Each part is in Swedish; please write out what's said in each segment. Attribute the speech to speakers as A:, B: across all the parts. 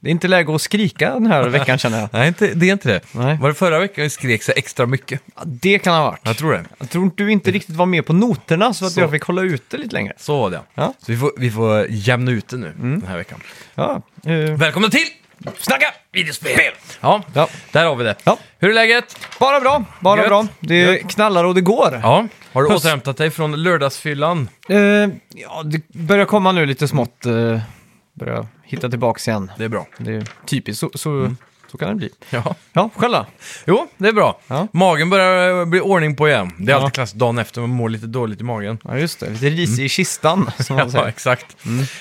A: Det är inte läge att skrika den här veckan känner jag.
B: Nej, inte, det är inte det.
A: Nej.
B: Var det förra veckan vi skrek så extra mycket?
A: Ja, Det kan ha varit.
B: Jag tror det.
A: Jag tror inte du inte riktigt var med på noterna så att
B: Så.
A: jag fick hålla ute lite längre.
B: Så var det,
A: Ja.
B: Så vi får, vi får jämna ut det nu den här veckan.
A: Ja, eh,
B: Välkomna till Snacka videospel! Ja,
A: Ja.
B: där har vi det.
A: Ja.
B: Hur är läget?
A: bara bra, bara
B: Gött.
A: bra. Det knallar och det går. Ja.
B: Ja. Har du
A: Puss.
B: återhämtat dig från lördagsfyllan?
A: Eh, ja, det börjar komma nu lite smått. Eh, börjar hitta tillbaks igen.
B: Det är bra.
A: Det är typiskt, så, så, så kan det bli.
B: Ja.
A: Ja, själv då?
B: Jo, det är bra.
A: Ja.
B: Magen börjar eh, bli ordning på igen. Det är
A: Ja.
B: alltid klassiskt dagen efter man mår lite dåligt i magen.
A: Ja, just det. Mm. Lite risig i kistan, som man
B: Ja,
A: säger.
B: exakt.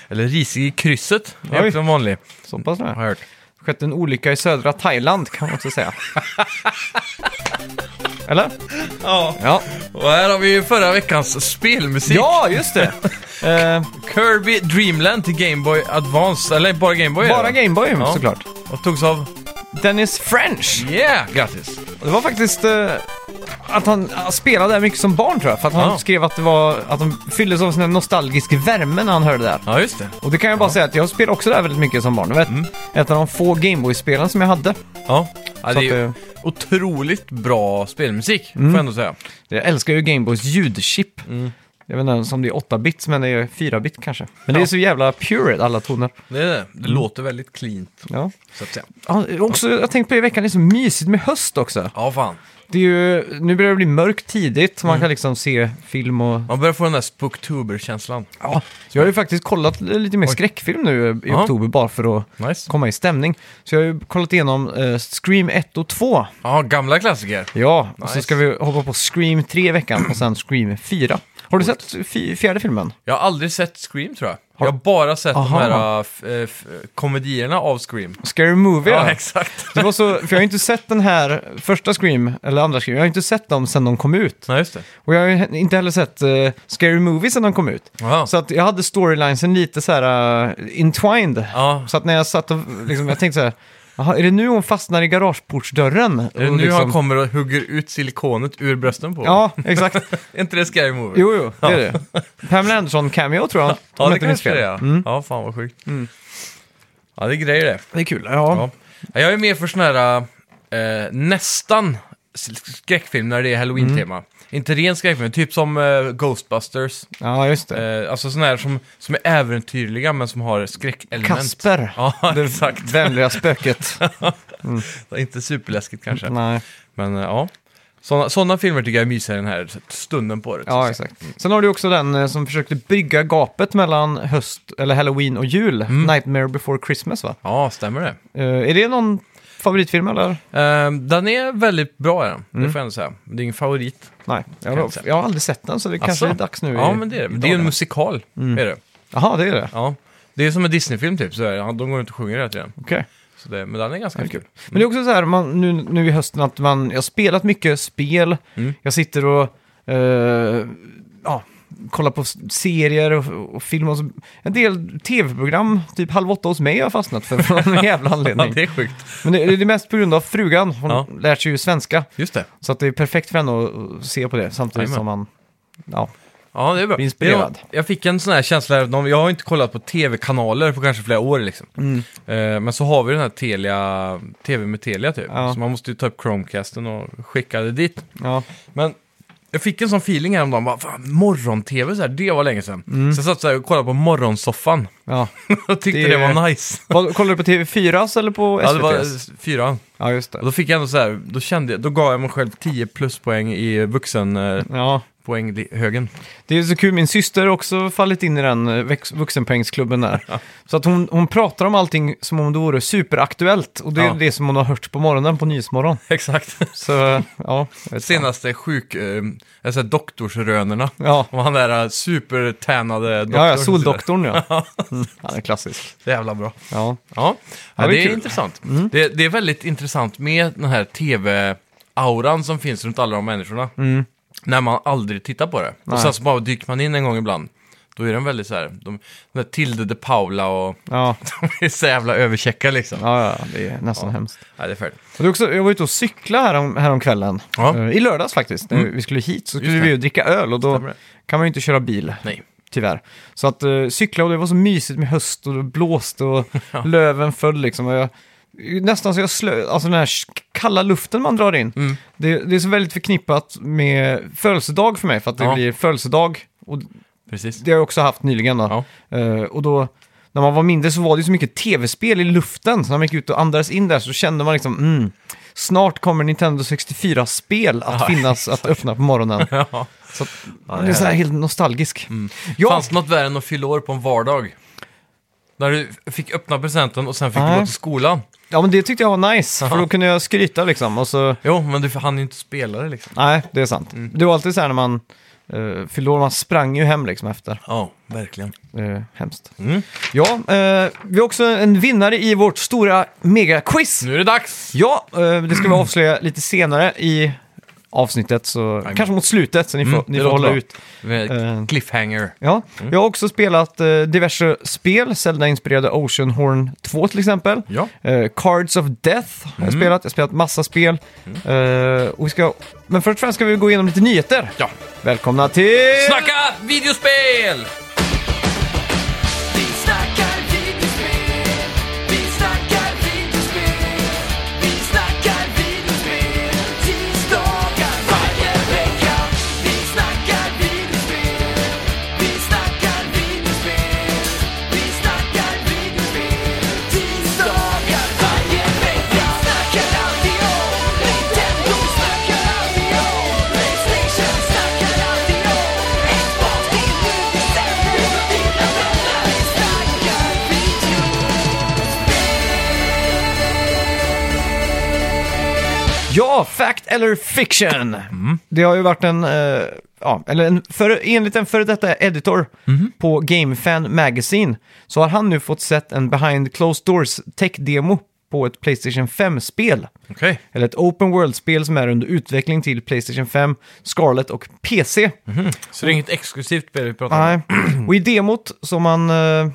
B: Eller risig i krysset, är
A: Oj.
B: också en vanlig.
A: Så pass
B: Har
A: nu.
B: jag hört.
A: Skett en olycka i södra Thailand, kan man också säga. Eller?
B: Ja.
A: Ja.
B: Och här har vi ju förra veckans spelmusik.
A: Ja, just det! Eh,
B: Kirby Dreamland till Game Boy Advance. Eller bara Game Boy?
A: bara
B: eller?
A: Gameboy,
B: Ja.
A: såklart.
B: Och togs av...
A: Dennis French!
B: Yeah! Grattis!
A: Och Det var faktiskt eh, att han eh, spelade där mycket som barn tror jag. För att han
B: Ja.
A: skrev att, det var, att han fylldes av sån här nostalgisk värme när han hörde det här.
B: Ja, just det.
A: Och det kan jag bara säga att jag spelade också det här väldigt mycket som barn. Det var ett, ett av de få Gameboy-spelen som jag hade.
B: Ja. ja det Mm. är
A: att,
B: ju
A: eh,
B: otroligt bra spelmusik, får jag ändå säga.
A: Jag älskar ju Gameboys ljudchip.
B: Mm.
A: Jag vet inte om det är 8-bit, men det är 4-bit kanske. Men det är så jävla pure, alla toner.
B: Det, är det. det låter väldigt cleant,
A: Ja.
B: så att säga.
A: Ja, också, jag tänkte på i veckan, det är så mysigt med höst också.
B: Ja, fan.
A: Det är ju, nu börjar det bli mörkt tidigt,
B: Mm.
A: man kan liksom se film och...
B: Man börjar få den där Spooktober-känslan.
A: Ja, jag har ju faktiskt kollat lite mer skräckfilm nu i
B: Ja.
A: oktober bara för att
B: Nice.
A: komma i stämning. Så jag har ju kollat igenom eh, Scream 1 och 2.
B: Ja, gamla klassiker.
A: Ja, och så
B: Nice.
A: ska vi hoppa på Scream 3 i veckan och sen Scream 4. Har du sett fi- fjärde filmen?
B: Jag har aldrig sett Scream, tror jag.
A: Har-
B: Jag har bara sett
A: Aha.
B: de här äh, f- äh, f- komedierna av Scream.
A: Scary Movie?
B: Ja,
A: ja.
B: exakt.
A: Det var så, för jag har ju inte sett den här första Scream, eller andra Scream, jag har ju inte sett dem sedan de kom ut.
B: Nej, just det.
A: Och jag har ju he- inte heller sett eh, Scary Movie sedan de kom ut.
B: Aha.
A: Så att jag hade storylinesen lite så här eh, intwined.
B: Ja.
A: Så att när jag satt och liksom, jag tänkte så här, Jaha, är det nu hon fastnar i garageportsdörren?
B: Är det
A: Och
B: nu
A: liksom-
B: han kommer och hugger ut silikonet ur brösten på
A: Ja, exakt.
B: Är inte det Scary Movie?
A: Jo, jo, det är det. Pamela Anderson-cameo tror jag. om
B: ja,
A: jag
B: det
A: inte
B: kan
A: minns
B: jag
A: fel. Mm.
B: säga. Ja, fan vad sjukt. Ja, det är grejer det.
A: Det är kul, ja.
B: Ja. Jag är med för sån här eh, nästan skräckfilm när det är halloween-tema.
A: Mm.
B: Inte ren skräckfilm, typ som eh, Ghostbusters.
A: Ja, just det.
B: Eh, alltså sån här som, som är äventyrliga men som har skräckelement.
A: Kasper,
B: Ja,
A: det
B: exakt.
A: vänliga spöket.
B: Det är Inte superläskigt kanske.
A: Nej.
B: Men eh, ja, såna, såna filmer tycker jag är mysigare den här stunden på året. så att
A: Ja,
B: säga.
A: exakt. Sen har du också den eh, som försökte brygga gapet mellan höst, eller halloween och jul.
B: Mm.
A: Nightmare before Christmas, va?
B: ja, stämmer det.
A: Eh, är det någon favoritfilm, eller?
B: Eh, den är väldigt bra, är den.
A: Mm.
B: det får jag ändå säga. Det är ingen favorit.
A: Nej, jag,
B: jag
A: har-
B: inte säga.
A: jag har aldrig sett den, så det kanske är dags nu.
B: Ja,
A: i-
B: men det Mm. är
A: i
B: det. Det är ju en
A: dagarna.
B: musikal, är det.
A: Jaha, det är det.
B: Ja. Det är som en Disney-film typ, så är det. Ja, de går runt och sjunger hela tiden.
A: Okej.
B: Så det, men den är ganska kul.
A: Men det är också så här, man, nu, nu i hösten, att man, jag har spelat mycket spel.
B: Mm.
A: Jag sitter och eh, ja, kollar på s- serier och, och film. Och så, en del tv-program, typ Halv åtta hos mig, har jag fastnat för av någon jävla
B: Ja,
A: anledning.
B: det är sjukt.
A: Men det, det är mest på grund av frugan. Hon
B: Ja.
A: lär sig ju svenska.
B: Just det.
A: Så att det är perfekt för henne att se på det samtidigt
B: Jajamän.
A: som man... Ja,
B: Ja, det är bra.
A: Blir inspirerad.
B: Jag, jag fick en sån här känsla, här, de- jag har inte kollat på tv-kanaler på kanske flera år liksom. Eh, men så har vi den här Telia, tv med Telia typ.
A: Ja.
B: Så man måste ju ta upp Chromecasten och skicka det dit.
A: ja.
B: Men jag fick en sån feeling häromdagen, bara, fan, morgon-tv så här, det var länge sedan. Så jag satt så här och kollade på morgonsoffan
A: ja.
B: och tyckte
A: Det-
B: Mm. det, var nice.
A: Vad, kollar du på TV4 alltså, eller på
B: Ja, det
A: SVT?
B: var fyran.
A: ja just
B: Och
A: det.
B: då fick jag ändå så här, då kände jag, då gav jag mig själv 10 pluspoäng i vuxen eh,
A: Ja.
B: poänghögen.
A: Det är så kul, min syster har också fallit in i den eh, väx- vuxenpoängsklubben där. Så att hon, hon pratar om allting som om det vore superaktuellt. Och det är
B: Ja.
A: det som hon har hört på morgonen på Nyhetsmorgon.
B: Exakt.
A: Så ja, jag vet fan.
B: Senaste sjuk, eh, alltså doktorsrönerna.
A: Ja,
B: Och han där eh, supertänade doktorn.
A: ja, ja soldoktorn ja. Mm. Han är klassisk.
B: Så jävla bra.
A: Ja.
B: Ja,
A: Ja,
B: ja
A: det
B: det
A: är
B: är
A: kul. Mm.
B: intressant. Det, det är väldigt intressant med den här tv-auran som finns runt alla de människorna. När man aldrig tittar på det.
A: Mm. Nej.
B: Och sen så bara dyker man in en gång ibland. Då är den väldigt så här, de, den där Tilde de Paula och
A: Ja.
B: de är så jävla överkäcka liksom. Ja.
A: ja, ja, det är nästan hemskt.
B: det är färdigt.
A: Och det är också, jag var ute och cykla härom, häromkvällen.
B: Ja. Mm.
A: Eh, I lördags faktiskt. När vi skulle hit så skulle
B: Just
A: vi
B: det.
A: ju dricka öl och då
B: Stämmer det.
A: kan man ju inte köra bil.
B: Nej.
A: Tyvärr. Så att eh, cykla och det var så mysigt med höst och det blåste och löven föll liksom. Och jag, nästan så jag slö... Alltså den här kalla luften man drar in.
B: Mm.
A: Det, det är så väldigt förknippat med födelsedag för mig, för att det
B: Ja.
A: blir födelsedag. Och
B: Precis.
A: det har jag också haft nyligen då. Eh, och då, när man var mindre så var det ju så mycket tv-spel i luften. Så när man gick ut och andades in där så kände man liksom, mm, snart kommer Nintendo 64-spel att
B: Ja,
A: finnas, att öppna på morgonen.
B: Ja.
A: Så att,
B: Ja,
A: det är sådär helt nostalgisk. Ja,
B: Fanns det något värre än att fylla år på en vardag? När du fick öppna presenten och sen fick
A: Nej.
B: du gå till skolan.
A: ja, men det tyckte jag var nice, för då kunde jag skryta liksom. Och så,
B: Jo, men du hann ju inte spela det liksom.
A: nej, det är sant. Det var alltid så här när man uh, fyllde år, man sprang ju hem liksom efter.
B: Ja, verkligen.
A: Uh, hemskt.
B: Mm.
A: Ja, eh, vi har också en vinnare i vårt stora megaquiz.
B: Nu är det dags!
A: Ja, eh, det ska vi avslöja lite senare i avsnittet, så kanske mot slutet, så ni får,
B: Mm,
A: ni
B: det
A: får
B: låter
A: hålla
B: bra. Mm.
A: ut.
B: Eh, Cliffhanger.
A: Ja, Jag har också spelat eh, diverse spel, Zelda-inspirerade Oceanhorn 2 till exempel.
B: Ja.
A: Eh, Cards of Death har
B: Mm.
A: jag spelat, jag har spelat massa spel. Eh, och vi ska, men först och främst ska vi gå igenom lite nyheter.
B: Ja.
A: Välkomna till...
B: Snacka videospel!
C: Vi snackar videospel, vi snackar videospel, vi snackar videospel, tisdagar varje vecka. Vi snackar videospel, vi snackar videospel, vi snackar videospel, tisdagar varje vecka. Snackar alltid om Nintendo, snackar alltid om Playstation, snackar alltid om Xbox, det är nu vi sänder för dina vänner. Vi snackar video.
A: Ja, fact eller fiction. Det har ju varit en, eh, ja, eller en för, enligt en före detta editor på GameFan Magazine så har han nu fått sett en behind closed doors tech-demo på ett Playstation 5-spel.
B: Okej.
A: Eller ett open world-spel som är under utveckling till Playstation 5, Scarlet och PC.
B: Så det är inget exklusivt spel vi pratar om?
A: Nej. Och i demot som man, eh,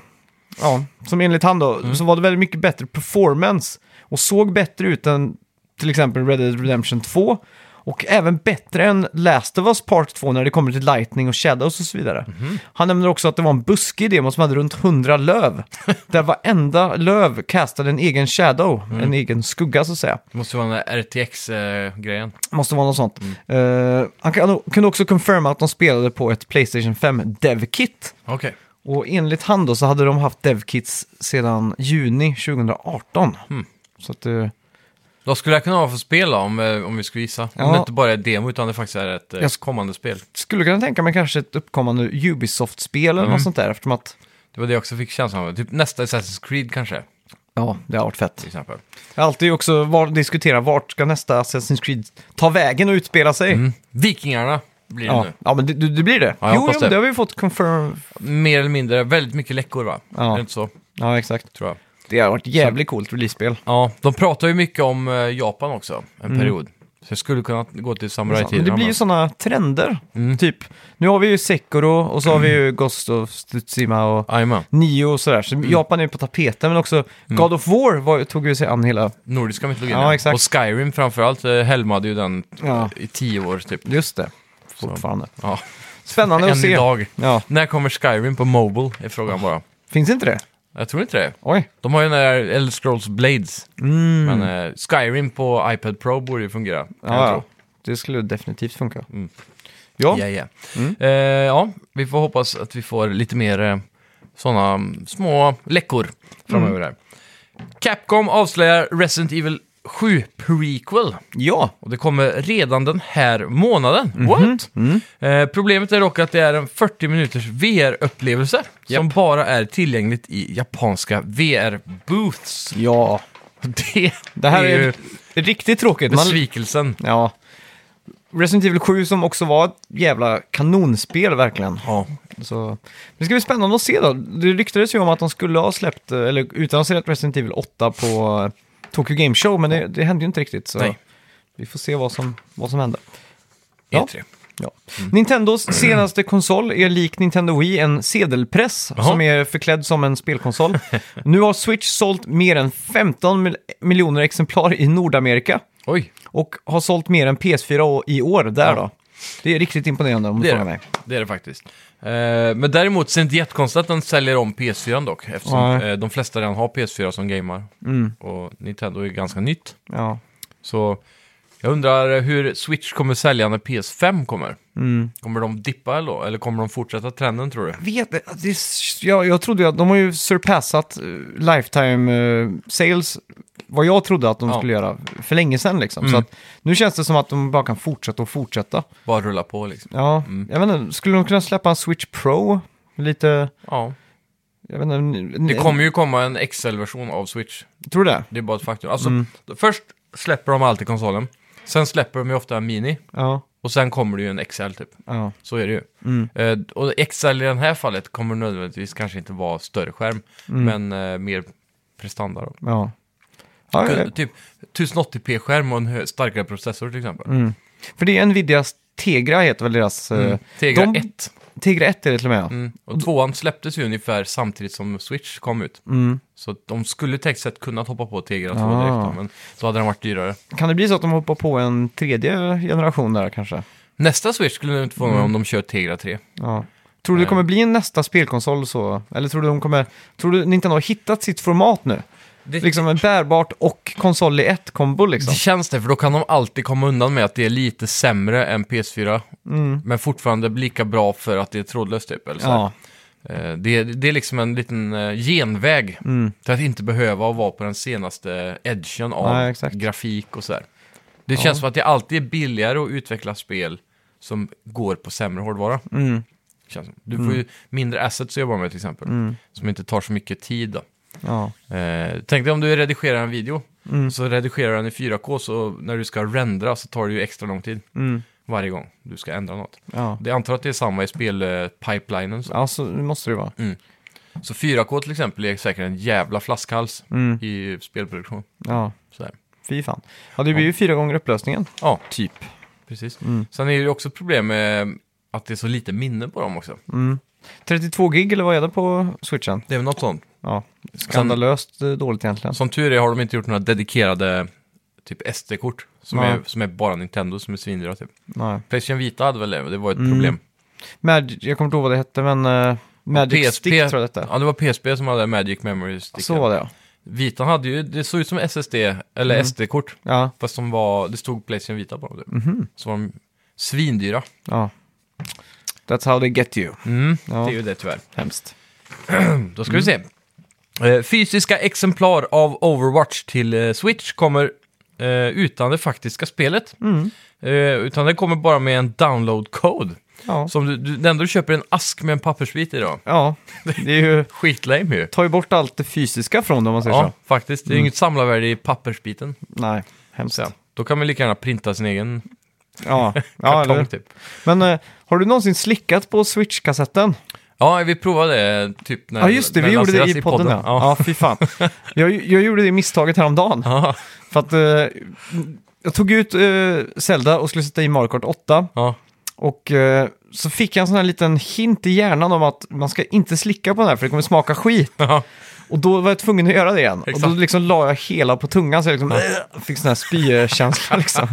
A: ja, som enligt han då, så var det väldigt mycket bättre performance och såg bättre ut än till exempel Red Dead Redemption 2 och även bättre än Last of Us Part 2 när det kommer till Lightning och Shadows och så vidare. Han nämner också att det var en buskig demo som hade runt 100 löv, där varenda löv kastade en egen shadow, en egen skugga så att säga.
B: Det måste vara den där RTX-grejen.
A: Måste vara något sånt. Eh, han kan, kunde också confirma att de spelade på ett Playstation 5 Dev Kit.
B: Okej.
A: Och enligt han då så hade de haft DevKits sedan juni 2018.
B: Mm.
A: Så att eh,
B: Vad skulle det här kunna vara för spel då, om, eh, om vi skulle gissa? Om
A: Ja.
B: det inte bara är demo, utan det faktiskt är ett eh,
A: Jag sk-
B: kommande spel.
A: skulle kunna tänka mig kanske ett uppkommande Ubisoft-spel eller
B: Mm.
A: något sånt där eftersom att
B: Det var det jag också fick känslan av. Typ nästa Assassin's Creed kanske,
A: ja, det har varit fett.
B: till exempel.
A: Jag har alltid också var, diskuterat vart ska nästa Assassin's Creed ta vägen och utspela sig.
B: Mm. Vikingarna blir det
A: Ja.
B: nu.
A: ja, men det, det blir det.
B: Ja, jag
A: jo,
B: hoppas
A: jo,
B: det.
A: det. har vi fått confirm.
B: Mer eller mindre, väldigt mycket läckor va?
A: Ja.
B: Är det inte så?
A: Ja, exakt.
B: Tror jag.
A: Det har varit jävligt coolt release-spel.
B: Ja, de pratar ju mycket om eh, Japan också, en period. Så jag skulle kunna gå till
A: Men
B: samurajtiderna.
A: Mm. det blir ju sådana trender,
B: Mm.
A: typ. Nu har vi ju Sekiro och så har vi ju Ghost of Tsushima och
B: Jajamän.
A: nio och sådär. Så Japan är ju på tapeten, men också God of War var, tog ju sig an hela...
B: Nordiska mytologin.
A: Ja, exakt.
B: Och Skyrim framförallt eh, helmade ju den
A: Ja.
B: i tio år typ.
A: Just det, fortfarande.
B: Ja.
A: Spännande att
B: Än
A: se.
B: idag.
A: Ja,
B: När kommer Skyrim på Mobile? Är frågan bara.
A: finns inte det?
B: Jag tror inte det.
A: Oj.
B: De har ju den där Elder Scrolls Blades. Men eh, Skyrim på iPad Pro borde ju fungera. kan jag
A: Mm. Ja,
B: tro.
A: ja. Det skulle definitivt funka. Ja, Mm.
B: Ja, ja. Eh, ja, vi får hoppas att vi får lite mer eh, sådana små läckor framöver
A: Mm.
B: här. Capcom avslöjar Resident Evil 7 prequel.
A: ja.
B: Och det kommer redan den här månaden.
A: Mhm.
B: What?
A: Mm.
B: Eh, problemet är dock att det är en 40 minuters VR-upplevelse som bara är tillgängligt i japanska VR-booths.
A: ja.
B: Det,
A: Det här är,
B: ju
A: riktigt tråkigt. Man,
B: besvikelsen.
A: ja. Resident Evil 7 som också var ett jävla kanonspel verkligen.
B: Ja.
A: Så, men det ska bli spännande att se då. Det ryktades ju om att de skulle ha släppt, eh, eller utannonserat Resident Evil 8 på eh, Tokyo Game Show, men det, det hände ju inte riktigt. Så
B: Nej.
A: vi får se vad som, vad som händer. Ja.
B: E3.
A: Ja.
B: Mm.
A: Nintendos senaste konsol är lik Nintendo Wii en sedelpress
B: Jaha.
A: som är förklädd som en spelkonsol. nu har Switch sålt mer än 15 mil- miljoner exemplar i Nordamerika
B: Oj,
A: och har sålt mer än PS4 å- i år där då. Det är riktigt imponerande om du
B: Det är
A: frågar
B: det.
A: mig.
B: det är det faktiskt. Eh, men däremot så är det inte jättekonstigt att de säljer om PS4 dock. Eftersom
A: Nej.
B: eh, de flesta redan har PS4 som gamar. Och Nintendo är ganska nytt.
A: Ja.
B: Så jag undrar hur Switch kommer sälja när PS5 kommer. Kommer de dippa eller då? Eller kommer de fortsätta trenden tror du?
A: Vet, det, är- jag, jag trodde ju att de har ju surpassat eh, lifetime eh, sales, vad jag trodde att de
B: Ja.
A: skulle göra för länge sedan liksom. Så
B: Mm.
A: att, nu känns det som att de bara kan fortsätta och fortsätta.
B: Bara rulla på liksom.
A: Ja, jag vet inte, skulle de kunna släppa en Switch Pro? Lite,
B: Ja.
A: jag vet inte.
B: Det
A: n-
B: kommer ju komma en XL-version av Switch.
A: Tror du det?
B: Det är bara ett faktum. Alltså, då- först släpper de alltid konsolen. Sen släpper de ju ofta en Mini.
A: Ja.
B: Och sen kommer det ju en XL typ.
A: ja.
B: Så är det ju.
A: Mm.
B: Eh, och XL i det här fallet kommer nödvändigtvis kanske inte vara större skärm.
A: Mm.
B: Men eh, mer prestanda då.
A: Ja. ja eh,
B: Kun-
A: jag-
B: Typ 1080p-skärm och en hö- starkare processor till exempel.
A: mm. För det är Nvidias Tegra heter väl deras... eh,
B: Tegra
A: de-
B: 1.
A: Tegra 1 är det till och med. ja.
B: Mm. Och tvåan släpptes ju ungefär samtidigt som Switch kom ut. Så att de skulle tekniskt sett kunnat hoppa på Tegra 2
A: Mm. Ah.
B: direkt då, men då hade den varit dyrare.
A: Kan det bli så att de hoppar på en tredje generation där kanske?
B: Nästa Switch skulle nog inte få
A: Mm.
B: mig om de kör Tegra 3.
A: Ja. Tror du det kommer bli en nästa spelkonsol så? Eller tror du de kommer... Tror du Nintendo har hittat sitt format nu?
B: Det,
A: Liksom en bärbart och konsol i ett kombo liksom.
B: det känns det, för då kan de alltid komma undan med att det är lite sämre än PS4. Men fortfarande lika bra för att det är trådlöst typ. Eller så här.
A: Mm. Ja,
B: Eh, Det, det är liksom en liten eh, genväg
A: Mm.
B: till att inte behöva vara på den senaste edgen av
A: Nej, exakt.
B: grafik och sådär. Det känns som att det alltid är billigare att utveckla spel som går på sämre hårdvara.
A: mm.
B: Känns som. Du får ju mindre assets att jobba med till exempel, som inte tar så mycket tid. Då.
A: mm, ja. Mm,
B: Eh, tänk dig om du redigerar en video, så redigerar den i 4K, så när du ska rendera så tar det ju extra lång tid
A: Mm.
B: varje gång du ska ändra något.
A: ja.
B: Det jag antar att det är samma i spelpipelinen. Så.
A: Ja, så måste det vara.
B: så 4K till exempel är säkert en jävla flaskhals
A: Mm.
B: i spelproduktion.
A: Ja,
B: Sådär.
A: fy fan. Ja, det blir ju fyra gånger upplösningen.
B: Ja,
A: Typ.
B: precis.
A: Mm.
B: Sen är det ju också problem med att det är så lite minne på dem också.
A: 32 Mm. gig eller vad är det på switchen?
B: Det är väl något sånt.
A: Ja, skandalöst eh, dåligt egentligen.
B: Som tur är har de inte gjort några dedikerade typ SD-kort som,
A: Nej.
B: är, som är bara Nintendo som är svindyra typ.
A: Nej.
B: Playstation Vita hade väl det, men det var ett
A: Mm.
B: problem.
A: Mag- jag kommer inte ihåg vad det hette, men eh, Magic
B: PSP
A: Stick tror jag det hette.
B: Ja, det var PSP som hade Magic Memory Stick.
A: Så var det ja.
B: Vitan hade ju, det såg ut som SSD, eller
A: Mm.
B: SD-kort.
A: Ja,
B: Fast som var, det stod Playstation Vita på dem typ.
A: Mhm.
B: Så var de svindyra.
A: ja. That's how they get you.
B: Mm,
A: Ja. Mm.
B: Det är ju det tyvärr.
A: Hemskt.
B: Då ska vi se. Eh, Fysiska exemplar av Overwatch till eh, Switch kommer eh, utan det faktiska spelet.
A: Mm.
B: Eh, Utan det kommer bara med en download-code.
A: Ja.
B: Som du, du, det enda du köper är en ask med en pappersbit i då.
A: ja, det är ju,
B: Skitlame ju.
A: tar ju bort allt det fysiska från det om man säger
B: Ja,
A: så. Mm.
B: faktiskt. Det är inget samlarvärde i pappersbiten.
A: Nej, hemskt.
B: Så, då kan man lika gärna printa sin egen
A: Ja, ja
B: kartong
A: eller?
B: typ.
A: Men eh, har du någonsin slickat på Switch-kassetten?
B: Ja, vi provade eh, typ när
A: Ja, just det,
B: när
A: vi gjorde det
B: lanseras
A: i podden. ja.
B: Ja.
A: ja, fy fan. Jag, jag gjorde det misstaget häromdagen.
B: Ja.
A: För att eh, jag tog ut eh, Zelda och skulle sätta i Mario Kart 8.
B: Ja.
A: Och eh, så fick jag en sån här liten hint i hjärnan om att man ska inte slicka på den här för det kommer smaka skit.
B: Ja.
A: Och då var jag tvungen att göra det igen. Och
B: Exakt.
A: då liksom la jag hela på tungan så jag liksom, äh, fick sån här spykänsla liksom.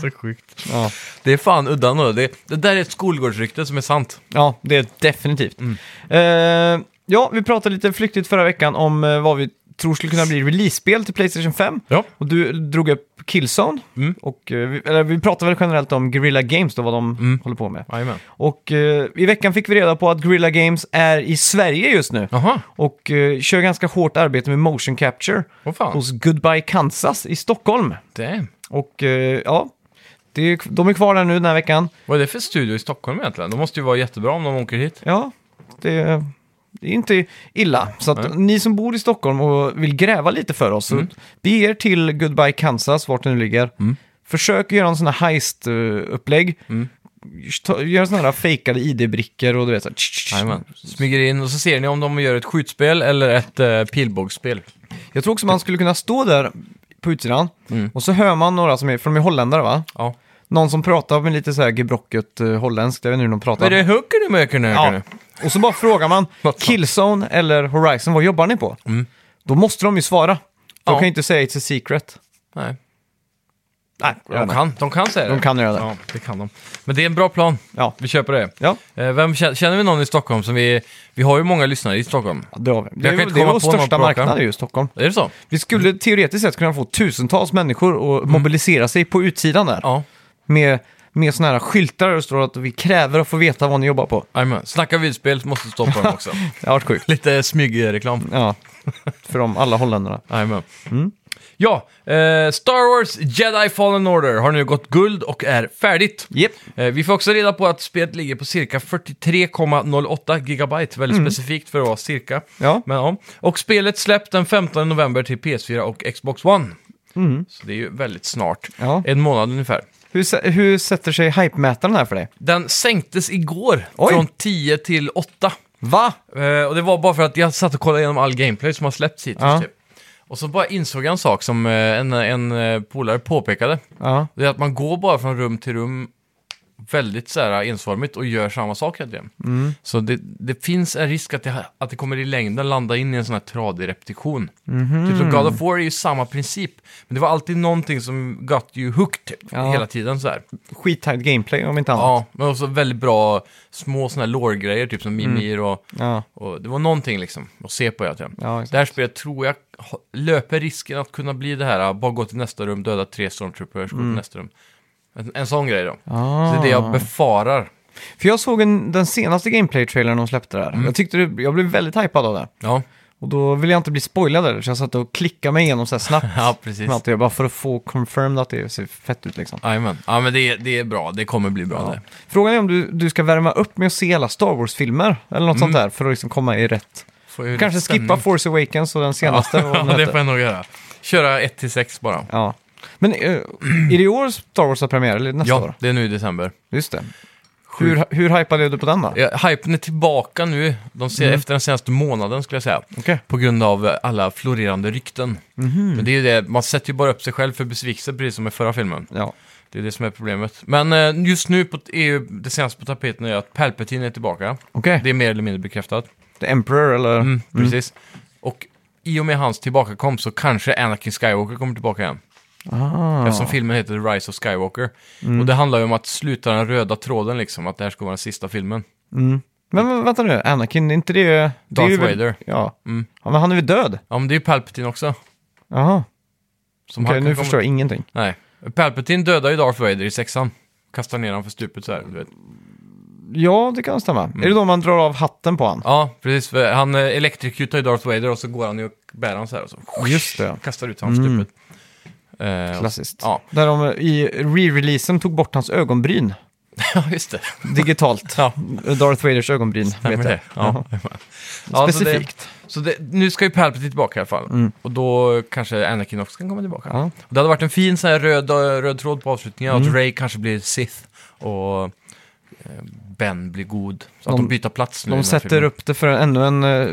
B: Så sjukt.
A: Ja.
B: Det är fan udda ändå. det, det där är ett skolgårdsrykte som är sant.
A: ja, det är definitivt.
B: Mm.
A: Eh, ja, vi pratade lite flyktigt förra veckan om eh, vad vi tror skulle kunna bli release-spel till Playstation 5.
B: Ja.
A: Och du drog upp Killzone.
B: Mm.
A: Och, eh, vi, eller, vi pratade väl generellt om Guerrilla Games då, vad de
B: Mm.
A: håller på med.
B: Jajamän.
A: Och eh, i veckan fick vi reda på att Guerrilla Games är i Sverige just nu.
B: Jaha,
A: Och eh, kör ganska hårt arbete med motion capture
B: vad fan.
A: hos Goodbye Kansas i Stockholm.
B: Damn.
A: Och eh, ja, det är, de är kvar där nu den här veckan.
B: Vad är det för studio i Stockholm egentligen? De måste ju vara jättebra om de åker hit.
A: Ja, det, är- det är inte illa. Så att ni som bor i Stockholm och vill gräva lite för oss,
B: Mm.
A: så bege er till Goodbye Kansas, vart det nu ligger. Försök göra en sån här heist-upplägg.
B: Mm.
A: Gör såna här fejkade ID-brickor och du vet så här, tsch, tsch,
B: Jajamän. Smyger in och så ser ni om de gör ett skjutspel eller ett eh, pilbågsspel.
A: Jag tror också man skulle kunna stå där på utsidan
B: Mm.
A: och så hör man några som är, för de är holländare va?
B: Ja.
A: Någon som pratar med lite så här gebrocket eh, holländskt, jag vet inte hur de pratar.
B: Är det hooker du möker nu?
A: ja. Och så bara frågar man
B: Något sånt. Mm.
A: Killzone eller Horizon, vad jobbar ni på? Då måste de ju svara. De
B: Ja.
A: kan ju inte säga It's a secret.
B: Nej.
A: Nej, jag vet
B: De
A: inte.
B: kan, de kan säga det.
A: De kan göra det.
B: Ja, det kan de. Men det är en bra plan.
A: Ja.
B: Vi köper det.
A: Ja,
B: Eh, Vem, kä- känner vi någon i Stockholm som vi... Vi har ju många lyssnare i Stockholm.
A: det har vi. Det är,
B: kan inte
A: det är
B: komma
A: vår
B: på något
A: största
B: bra Mm.
A: marknad
B: program.
A: är ju Stockholm.
B: Är det så?
A: Vi skulle teoretiskt sett kunna få tusentals människor och mobilisera sig på utsidan där.
B: Mm. Ja.
A: Med, med sådana här skyltar där det står att vi kräver att få veta vad ni jobbar på.
B: Jajamän. Snacka videospel måste stå på dem också.
A: Det har varit sjukt.
B: Lite smygreklam.
A: Ja, för de alla holländarna.
B: Jajamän. Ja, eh, Star Wars Jedi Fallen Order har nu gått guld och är färdigt.
A: Yep.
B: Eh, Vi får också reda på att spelet ligger på cirka 43,08 gigabyte. Väldigt specifikt för att vara cirka.
A: Ja.
B: Men, ja. Och spelet släpps den 15 november till PS4 och Xbox One. Så det är ju väldigt snart.
A: Ja.
B: En månad ungefär.
A: Hur, sä- hur sätter sig hype-mätaren här för dig?
B: Den sänktes igår
A: Oj.
B: från 10 till 8.
A: Va?
B: Eh, och det var bara för att jag satt och kollade igenom all gameplay som har släppts hittills.
A: Ja.
B: Typ. Och så bara insåg jag en sak som eh, en, en eh, polare påpekade.
A: Ja.
B: Det är att man går bara från rum till rum väldigt så här ensformigt och gör samma sak hela tiden.
A: Mm.
B: Så det, det finns en risk att det, att det kommer i längden landa in i en sån här tradig repetition.
A: Mhm.
B: Typ som God of War är ju samma princip. Men det var alltid någonting som got you hooked typ,
A: Ja.
B: hela tiden så här.
A: Skittajt gameplay om inte annat.
B: Ja, men också väldigt bra små såna här lore-grejer, typ som
A: Mm.
B: Mimir och,
A: Ja.
B: och... Det var någonting liksom att se på hela tiden.
A: Ja,
B: Det
A: exakt.
B: här spelet tror jag ha- löper risken att kunna bli det här, ah, bara gå till nästa rum, döda tre stormtroopers, gå till nästa rum. En, en sån grej då.
A: Mm. Ah.
B: Så det är det jag befarar.
A: För jag såg en, den senaste gameplay-trailern de släppte där.
B: Mm.
A: Jag tyckte det, jag blev väldigt hypad av det.
B: Ja,
A: Och då ville jag inte bli spoilad där, så jag satt och klickade mig igenom så här snabbt.
B: ja precis.
A: Med allt det, gör, bara för att få confirmed att det ser fett ut liksom.
B: Jajamän. Ja, men det, är- det är bra. Det kommer bli bra
A: Ja.
B: det.
A: Frågan är om du, du ska värma upp med att se alla Star Wars-filmer eller något
B: Mm.
A: sånt där för att liksom komma i rätt.
B: Får ju
A: Kanske
B: rätt
A: skippa
B: stämning.
A: Force Awakens och den senaste. och vad den
B: Ja, det
A: heter.
B: får jag nog göra. Köra 1-6 bara.
A: ja. Men eh, är det i år Star Wars har premiär eller nästa
B: Ja,
A: år?
B: det är nu i december.
A: Just det. Hur, hur hypad är du på den då?
B: Ja, hypen är tillbaka nu, de ser,
A: Mm.
B: efter den senaste månaden skulle jag säga.
A: Okej.
B: På grund av eh, alla florerande rykten. Men det är ju det, man sätter ju bara upp sig själv för besvikelse, precis som i förra filmen.
A: Ja.
B: Det är det som är problemet. Men eh, just nu, på, är ju, det senaste på tapeten är att Palpatine är tillbaka.
A: Okej.
B: Det är mer eller mindre bekräftat.
A: The Emperor eller?
B: Mm, Precis. Och i och med hans tillbakakomst så kanske Anakin Skywalker kommer tillbaka igen.
A: Ah.
B: Eftersom filmen heter The Rise of Skywalker. Och det handlar ju om att sluta den röda tråden liksom, att det här ska vara den sista filmen.
A: Men, men vänta nu, Anakin, är inte det... det är
B: Darth
A: ju väl-
B: Vader.
A: Ja. ja, men han är väl död?
B: Ja, men det är ju Palpatine också.
A: Jaha,
B: Som
A: okej
B: han kan
A: nu
B: komma-
A: förstår jag ingenting.
B: Nej. Palpatine dödar ju Darth Vader i sexan. Kastar ner honom för stupet så här, du vet.
A: Ja, det kan stämma. Är det då man drar av hatten på han?
B: Ja, precis. För Han eh, elektrikutar ju Darth Vader och så går han ju och bär han så här och så
A: Just det.
B: kastar ut honom för
A: Mm.
B: stupet. Eh,
A: Klassiskt.
B: Ja.
A: Där de i re-releasen tog bort hans ögonbryn.
B: ja, just det.
A: Digitalt.
B: Ja,
A: Darth Vaders ögonbryn,
B: nej,
A: vet jag.
B: men det. Ja. Ja, så det-
A: Specifikt. Mm.
B: Så det, nu ska ju Palpatine tillbaka i alla fall. Och då kanske Anakin också kan komma tillbaka.
A: Ja.
B: Och det hade varit en fin så här röd, eh, röd tråd på avslutningen,
A: Mm.
B: att Ray kanske blir Sith och eh, Ben blir god. Så att
A: De-
B: de byter plats nu. i
A: De
B: den här
A: sätter
B: filmen.
A: upp det för ännu en eh,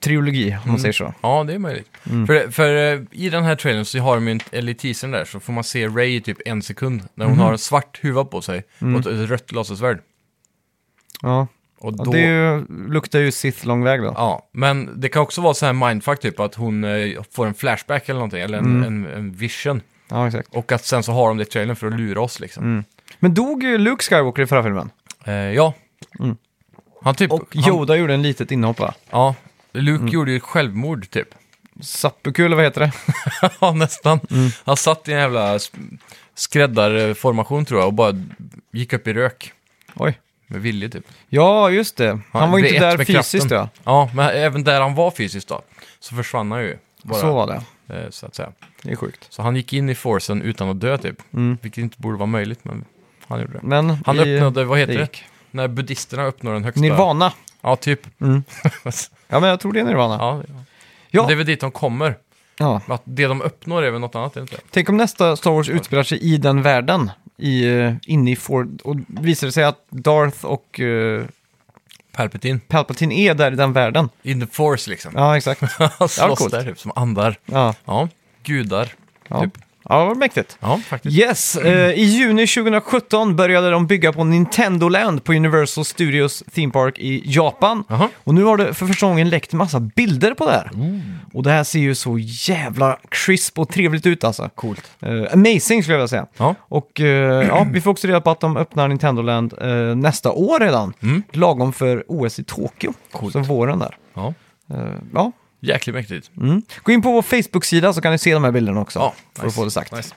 A: trilogi, om man säger så.
B: Ja, det är möjligt.
A: Mm.
B: För, för eh, i den här trailern, så har de ju en, eller i teasern där, så får man se Ray i typ en sekund. När
A: Mhm.
B: hon har en svart huvud på sig
A: Mm.
B: och ett, ett rött lasersvärd.
A: Ja.
B: Och
A: Ja,
B: då,
A: Det
B: ja,
A: är ju, luktar ju Sith lång väg då.
B: men det kan också vara så här mindfuck typ, att hon eh, får en flashback eller någonting, eller en,
A: Mm.
B: en, en vision.
A: Ja, exakt.
B: Och att sen så har de det i trailern för att lura oss liksom.
A: Mm. Men dog ju Luke Skywalker i förra filmen?
B: Eh, ja. Han typ...
A: Mm. Och Mm.
B: han,
A: Yoda gjorde en litet inhopp va?
B: ja, Luke gjorde ju ett självmord typ.
A: Sappuku eller vad heter det?
B: Ja, nästan.
A: Mm.
B: Han satt i en jävla sk- skräddarformation tror jag och bara gick upp i rök.
A: Oj.
B: Med vilje typ.
A: Ja, just det. Han var ju
B: blev
A: inte
B: ett
A: där
B: med
A: fysiskt
B: kraften.
A: ja.
B: Ja, men även där han var fysiskt då, så försvann han ju. Bara,
A: Så var det.
B: eh, så att säga.
A: Det är sjukt.
B: Så han gick in i forcen utan att dö typ. Vilket inte borde vara möjligt, men han gjorde det.
A: Men
B: Han
A: i-
B: öppnade, vad heter
A: Mm. det
B: det?
A: gick.
B: När buddisterna uppnår den högsta...
A: Nirvana.
B: Ja, typ.
A: Ja, men jag tror det är Nirvana. Ja.
B: ja, ja. Det är väl dit de kommer. Men Att det de uppnår är väl något annat, är det inte?
A: Tänk om nästa Star Wars utspelar sig i den världen. I, eh, inne i Ford. Och visar det sig att Darth och eh,
B: Palpatine.
A: Palpatine är där i den världen.
B: In the force liksom.
A: Ja, exakt.
B: Han
A: det var
B: slåss
A: coolt.
B: där typ, som andar.
A: Ja,
B: Ja, gudar.
A: ja.
B: Typ.
A: Ja, vad mäktigt.
B: Ja, faktiskt.
A: Yes, eh, i juni 2017 började de bygga på Nintendo Land på Universal Studios Theme Park i Japan.
B: Jaha.
A: Och nu har det för första gången läckt massa bilder på det här. Och det här ser ju så jävla crisp och trevligt ut alltså.
B: Coolt.
A: Eh, amazing skulle jag vilja säga.
B: Ja.
A: Och eh, ja, vi får också reda på att de öppnar Nintendo Land eh, nästa år redan. Lagom för OS i Tokyo.
B: Mm. Coolt.
A: Så våren där.
B: ja.
A: Eh, ja.
B: Jäkligt mäktigt.
A: Mm. Gå in på vår Facebook-sida så kan ni se de här bilderna också.
B: Ja,
A: för att få det sagt.
B: nice.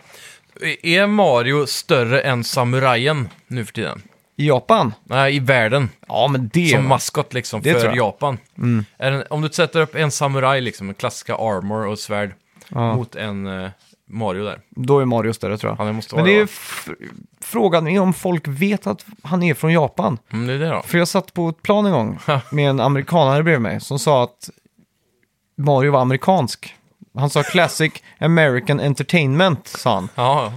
B: Är Mario större än samurajen nu för tiden?
A: I Japan?
B: Nej, i världen.
A: Ja, men det...
B: Som maskot liksom,
A: Det tror
B: för
A: jag. Mm.
B: Japan. Är den, om du sätter upp en samuraj, liksom, en klassiska armor och svärd, mot en eh, Mario där.
A: Då är Mario större tror jag.
B: Ja, det måste
A: Men
B: vara
A: det är
B: det,
A: ju
B: va?
A: f- frågan är om folk vet att han är från Japan.
B: Mm, det är det då.
A: För jag satt på ett plan en gång med en amerikanare bredvid mig som sa att Mario var amerikansk. Han sa Classic American Entertainment, sa han.
B: Ja, ja.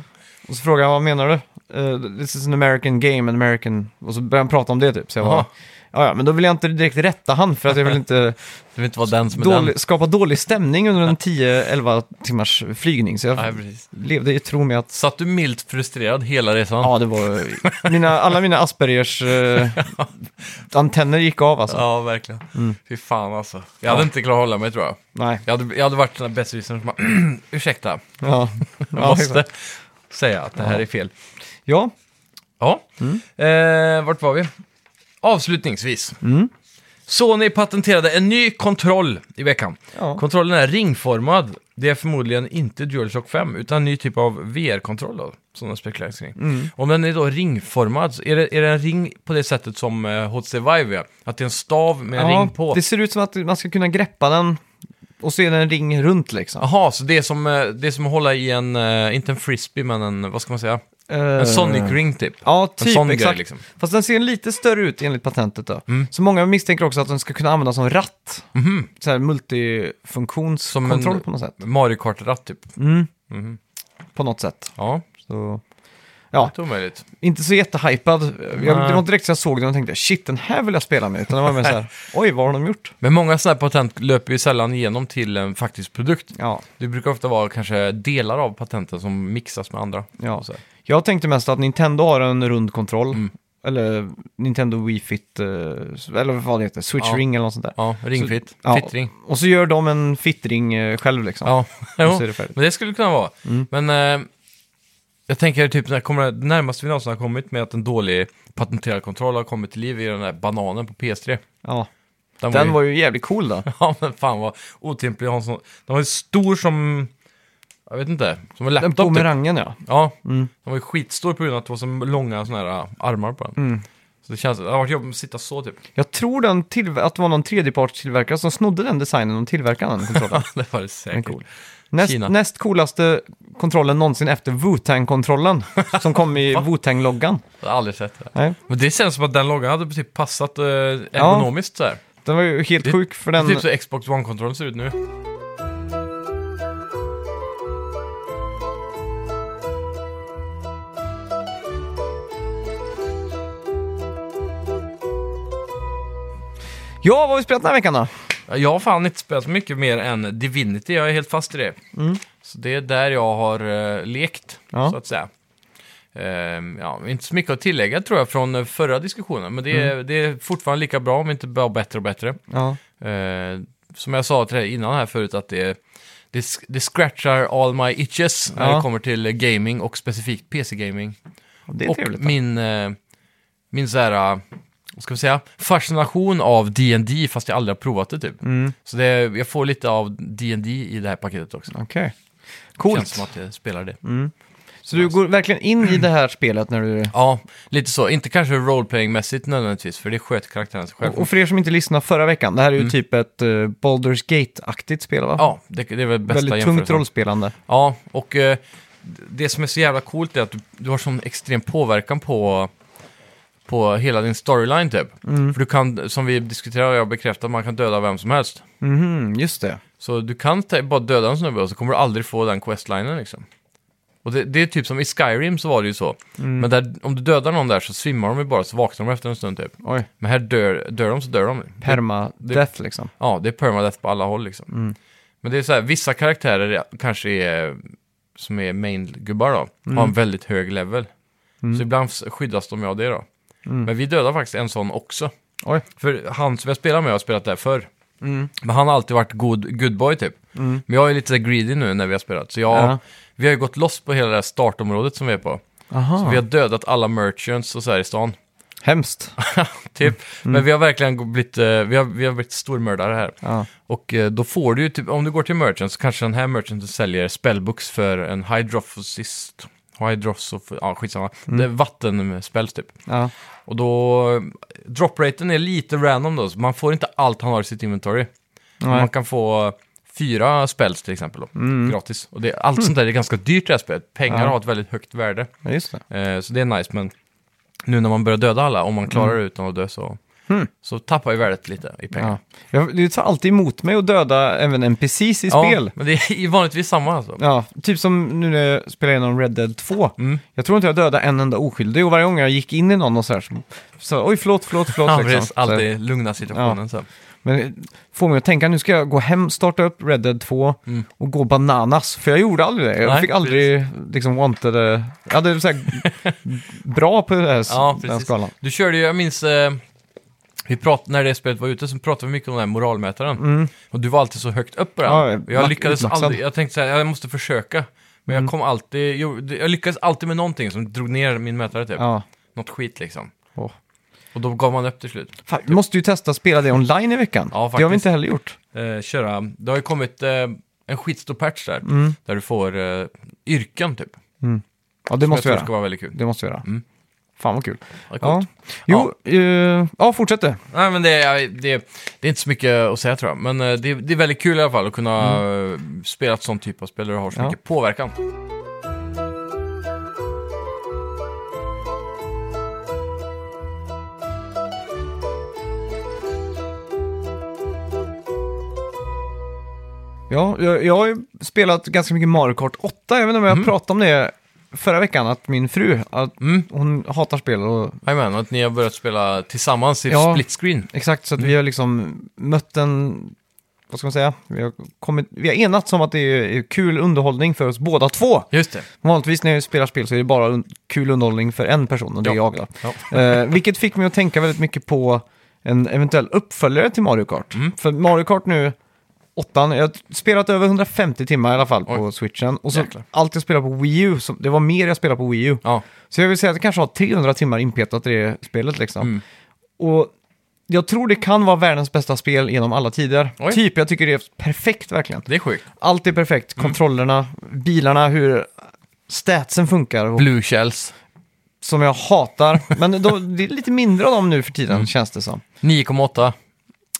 A: Och så frågade jag, vad menar du? Eh, this is an American game, an American... Och så började han prata om det typ. Så jag
B: Jaha.
A: bara, ja, ja, men då vill jag inte direkt rätta han för att jag vill inte
B: det vill inte vara den som är den.
A: dålig, skapa dålig stämning under en 10-11 timmars flygning. Så jag
B: Nej, precis.
A: levde i tro med att
B: Satt du milt frustrerad hela resan?
A: Ja, det var... Mina, alla mina Aspergers eh, antenner gick av alltså.
B: Ja, verkligen. Fy fan alltså. Jag hade inte klarat att hålla mig tror jag.
A: Nej.
B: Jag hade, jag hade varit den där besserwissern som bara, ursäkta,
A: Ja.
B: jag
A: Ja,
B: måste
A: exakt.
B: säga att det här är fel.
A: ja.
B: Ja,
A: Mm.
B: eh, vart var vi? Avslutningsvis.
A: Mm.
B: Sony patenterade en ny kontroll i veckan.
A: Ja.
B: Kontrollen är ringformad. Det är förmodligen inte DualShock 5, utan en ny typ av VR-kontroll då, som det spekuleras kring.
A: Mm.
B: Om den är då ringformad, så är det, är det en ring på det sättet som eh, HTC Vive är? Att det är en stav med en
A: ja,
B: ring på?
A: Det ser ut som att man ska kunna greppa den och se den en ring runt liksom.
B: Jaha, så det är, som, eh, det är som att hålla i en, eh, inte en frisbee, men en, vad ska man säga? En
A: Eh,
B: Sonic ring typ.
A: Ja,
B: en
A: typ.
B: sån
A: exakt.
B: grej liksom. Mm.
A: Fast den ser lite större ut enligt patentet då. Så många misstänker också att den ska kunna användas som ratt. Mm. Så här
B: Mhm. en-
A: multifunktionskontroll på något sätt. Mm.
B: Mario Kart-ratt typ.
A: På något sätt.
B: Ja,
A: Så... Ja,
B: det är omöjligt.
A: inte så jättehypad. Jag, det
B: Nej.
A: var inte direkt så jag såg den och tänkte shit, den här vill jag spela med. Utan det var mer så här, oj, vad har de gjort?
B: Men många sådana här patent löper ju sällan igenom till en faktisk produkt.
A: Ja,
B: Det brukar ofta vara kanske delar av patenten som mixas med andra.
A: ja.
B: Så här.
A: Jag tänkte mest att Nintendo har en rund kontroll.
B: Mm.
A: Eller Nintendo Wii Fit, eh, eller vad det heter, Switch
B: Ja.
A: Ring eller något sånt där.
B: Ja, ringfit.
A: Ja,
B: Fittring.
A: Och så gör de en fittring eh, själv liksom.
B: Ja,
A: Och
B: jo.
A: så är det Mm. färdigt.
B: men det skulle det kunna vara. Men eh, jag tänker typ när kommer det närmaste vi någonsin har kommit med att en dålig patenterad kontroll har kommit till liv i den där bananen på PS3.
A: Ja.
B: Den,
A: Den var ju jävligt cool då.
B: Ja, men fan vad otymplig. Han som- Den var ju stor som... Jag vet inte. Som
A: Den
B: en laptop. typ.
A: bumerangen ja.
B: Ja, den var ju skitstor på grund av att det var så långa såna här äh, armar på den. Så det känns... Det har varit jobbigt att sitta så typ.
A: Jag tror den till, att det var någon tredjepartstillverkare som snodde den designen och tillverkade den kontrollen.
B: det var
A: Den
B: det
A: är
B: säkert.
A: cool. Näst,
B: Kina.
A: näst coolaste kontrollen någonsin efter Wu-Tang-kontrollen som kom i Wu-Tang-loggan.
B: Jag har aldrig sett det.
A: Nej,
B: Men det känns som att den loggan hade typ passat eh, ergonomiskt så här.
A: den var ju helt sjuk för den...
B: Det är typ så Xbox One-kontrollen ser ut nu.
A: Ja, vad har vi spelat den här veckan då?
B: Jag har fan inte spelat så mycket mer än Divinity, jag är helt fast i det. Så det är där jag har eh, lekt,
A: Ja.
B: så att säga. Ehm, ja, inte så mycket att tillägga tror jag från eh, förra diskussionen, men det är, det är fortfarande lika bra, om inte bara bättre och bättre.
A: Ja.
B: Ehm, som jag sa till dig innan här förut, att det, det, sk- det scratchar all my itches när
A: Ja.
B: det kommer till eh, gaming och specifikt PC-gaming.
A: Det är
B: Och
A: trevligt. då.
B: min, eh, min så här, eh, vad ska vi säga, fascination av D&D fast jag aldrig har provat det
A: Mm.
B: typ. Så det, jag får lite av D&D i det här paketet också.
A: Okej.
B: Känns som
A: Coolt. Mm.
B: att jag spelar det.
A: Så du går verkligen in i det här spelet när du...
B: Ja, lite så. Inte kanske roleplaying-mässigt nödvändigtvis, för det sköter karaktären sig själv.
A: Och för er som inte lyssnade förra veckan, det här är ju typ ett eh, Baldur's Gate-aktigt spel va?
B: Mm. Ja, det, det är väl bästa
A: Väldigt tungt
B: jämförelsen.
A: rollspelande.
B: Ja, och eh, det som är så jävla coolt är att du, du har sån extrem påverkan på, på hela din storyline typ. För du kan, som vi diskuterade och jag bekräftade, man kan döda vem som helst.
A: Mhm, just det.
B: Så du kan ta- bara döda en snubbe och så kommer du aldrig få den questlinen liksom. Och det, det är typ som i Skyrim så var det ju så. Men där, om du dödar någon där så svimmar de ju bara så vaknar de efter en stund typ.
A: Oj.
B: Men här dör, dör de så dör de.
A: Perma-death liksom. Mm.
B: Ja, det är permadeath på alla håll liksom. Men det är så här, vissa karaktärer kanske är som är main-gubbar då, har
A: Mm.
B: en väldigt hög level. Så ibland skyddas de av det då. Men vi dödar faktiskt en sån också.
A: Mm. Oj.
B: För han som jag spelar med har spelat där förr. Men han har alltid varit good, good boy typ. Men jag är lite så här greedy nu när vi har spelat. Så jag,
A: Mm. Ja.
B: vi har ju gått loss på hela det här startområdet som vi är på. Så
A: Aha.
B: vi har dödat alla merchants och så här i stan.
A: Hemskt.
B: Typ.
A: Mm.
B: Men vi har verkligen blivit, eh, vi har, vi har blivit stormördare här.
A: Ja.
B: Och eh, då får du ju, typ, om du går till merchant så kanske den här merchanten säljer spellbooks för en hydrophysist. Hydrosof, ja skitsamma.
A: Mm.
B: Det är vattenspells typ.
A: Ja.
B: Och då, eh, dropraten är lite random då, så man får inte allt han har i sitt inventory. Men
A: Nej. Mm.
B: Man kan få fyra spells till exempel då, gratis. Och det, allt sånt där är ganska dyrt i det här spelet. Pengar
A: Ja.
B: har ett väldigt högt värde.
A: ja, just det.
B: Eh, så det är nice, men nu när man börjar döda alla, om man
A: Mm.
B: klarar det utan att dö så, så tappar ju värdet lite i pengar.
A: Ja. Jag, det tar alltid emot mig att döda även NPCs i spel.
B: men det är ju vanligtvis samma alltså.
A: Ja, typ som nu när jag spelar igenom Red Dead 2.
B: Mm.
A: Jag tror inte jag dödade en enda oskyldig och varje gång jag gick in i någon och så här så sa oj förlåt, förlåt, förlåt.
B: Ja,
A: liksom.
B: precis.
A: Så här.
B: Alltid lugna situationen så.
A: Men det får mig att tänka, nu ska jag gå hem, starta upp Red Dead 2 och gå bananas. För jag gjorde aldrig det. Jag
B: Mm. Nej,
A: fick aldrig liksom wanted... eh, Jag hade så här, bra på det här,
B: Ja,
A: den här
B: precis.
A: skalan.
B: Du körde ju, jag minns, eh, vi prat, när det spelet var ute så pratade vi mycket om den här moralmätaren. Och du var alltid så högt upp på den.
A: Mm. Ja,
B: Och jag
A: max-
B: lyckades
A: utmaxad.
B: aldrig, jag tänkte så här, jag måste försöka. Men
A: Mm.
B: jag kom alltid, jo, det- jag lyckades alltid med någonting som drog ner min mätare typ.
A: Ja.
B: Något skit liksom.
A: Åh.
B: Och då gav man upp till slut.
A: Fan, vi måste ju testa att spela det online i veckan. det
B: Ja,
A: har vi
B: faktiskt.
A: inte heller gjort.
B: Eh, köra, det har ju kommit eh, en skitstor patch där.
A: Mm.
B: Där du får eh, yrken typ.
A: Ja, det måste vi
B: jag tror
A: göra.
B: ska vara väldigt kul.
A: Det måste vi göra.
B: Mm.
A: Fan vad kul.
B: Ja,
A: Ja.
B: coolt.
A: Jo, eh, ja, fortsätt du.
B: Nej, men det, är- det, det är inte så mycket att säga tror jag. Men eh, det, det är väldigt kul i alla fall att kunna eh, spela ett sånt typ av spel där du har så
A: Mm. Ja.
B: mycket påverkan.
A: Ja, jag, jag har ju spelat ganska mycket Mario Kart 8, även om jag pratade om det förra veckan, att min fru, att
B: Mm.
A: hon hatar spel och
B: Jajamän, och att ni har börjat spela tillsammans i
A: Ja.
B: split screen.
A: Exakt, så att
B: Mm.
A: vi har liksom mött en, vad ska man säga, vi har, kommit, vi har enats om att det är kul underhållning för oss båda två.
B: Just det.
A: Vanligtvis när jag spelar spel så är det bara un- kul underhållning för en person och det är
B: Ja.
A: jag då.
B: Ja.
A: Eh, vilket fick mig att tänka väldigt mycket på en eventuell uppföljare till Mario Kart.
B: Mm.
A: För Mario Kart nu, åttan, jag har spelat över 150 timmar i alla fall på switchen. Och så
B: Jäklar.
A: allt jag spelar på Wii U, som- det var mer jag spelade på Wii U.
B: Ja.
A: Så jag vill säga att jag kanske har 300 timmar inpetat i det spelet liksom.
B: Mm.
A: Och jag tror det kan vara världens bästa spel genom alla tider.
B: Oj.
A: Typ, jag tycker det är perfekt verkligen.
B: Det är sjukt.
A: Allt är perfekt,
B: Mm.
A: kontrollerna, bilarna, hur statsen funkar. Och,
B: Blue Shells.
A: som jag hatar. Men då, det är lite mindre av dem nu för
B: Mm.
A: tiden, känns det som.
B: 9,8.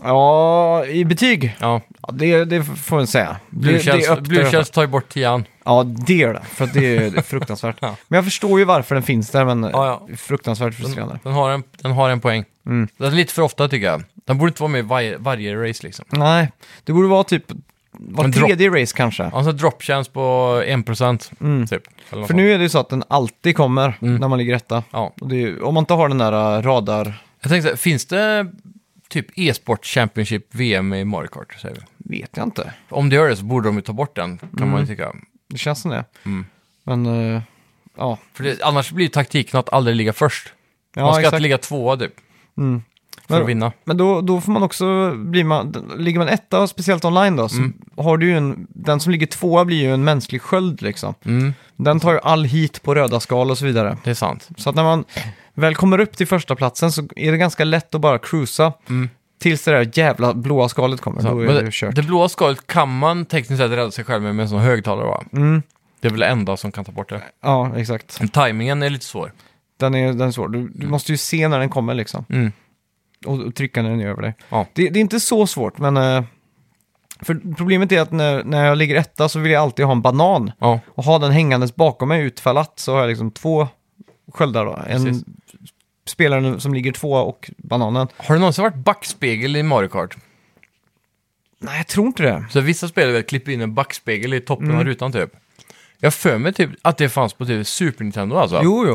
A: Ja, i betyg.
B: Ja.
A: Ja, det, det får man säga.
B: Blue
A: det,
B: Shells,
A: det är upp
B: Blue
A: där.
B: Shells tar ju bort 10
A: Ja, det är det. För att det är det är fruktansvärt.
B: Ja.
A: Men jag förstår ju varför den finns där, men
B: Ja, ja.
A: fruktansvärt frustrerande.
B: Den har en, den har en poäng.
A: Mm.
B: Det är lite för ofta tycker jag. Den borde inte vara med i varje, varje race liksom.
A: Nej, det borde vara typ var
B: En drop.
A: tredje race kanske.
B: Alltså drop chance på 1%
A: Mm.
B: typ. Eller något
A: För nu är det ju så att den alltid kommer
B: Mm.
A: när man ligger etta.
B: Ja.
A: Och det är, ju- om man inte har den där äh, radar...
B: Jag tänkte, så här, finns det typ e-sport Championship VM i Mario Kart? Säger vi.
A: vet jag inte.
B: Om det gör det så borde de ju ta bort den, kan
A: Mm.
B: man ju tycka.
A: Det känns som det.
B: Mm.
A: Men, äh, ja.
B: För det, annars blir ju taktiken att aldrig ligga först.
A: ja.
B: man ska
A: exakt.
B: inte ligga tvåa typ,
A: Mm.
B: för
A: Men-
B: att vinna.
A: Men då, då får man också, blir man, ligger man etta, och speciellt online då, så
B: Mm.
A: har du ju en, den som ligger tvåa blir ju en mänsklig sköld liksom.
B: Mm,
A: Den tar ju all hit på röda skal och så vidare.
B: det är sant.
A: Så att när man väl kommer upp till första platsen så är det ganska lätt att bara cruisa
B: Mm.
A: tills det där jävla blåa skalet kommer.
B: Så,
A: då
B: men
A: är det ju
B: det,
A: kört.
B: det blåa skalet kan man tekniskt sett rädda sig själv med med en sån högtalare va?
A: Mm.
B: Det är väl det enda som kan ta bort det.
A: Ja, exakt.
B: Men timingen är lite svår.
A: Den är, den är svår. Du, du måste ju se när den kommer liksom.
B: Mm.
A: Och, och trycka när den är över dig.
B: Ja.
A: Det, det är inte så svårt, men... eh, För problemet är att när, när jag ligger etta så vill jag alltid ha en banan.
B: Ja,
A: och ha den hängandes bakom mig utfallat så har jag liksom två sköldar då. En
B: Precis.
A: spelaren som ligger två och bananen.
B: har det någonsin varit backspegel i Mario Kart?
A: Nej, jag tror inte det.
B: Så vissa spelare klipper in en backspegel i toppen
A: Mm.
B: av rutan typ. Jag har för mig typ att det fanns på typ Super Nintendo alltså.
A: Jo, jo.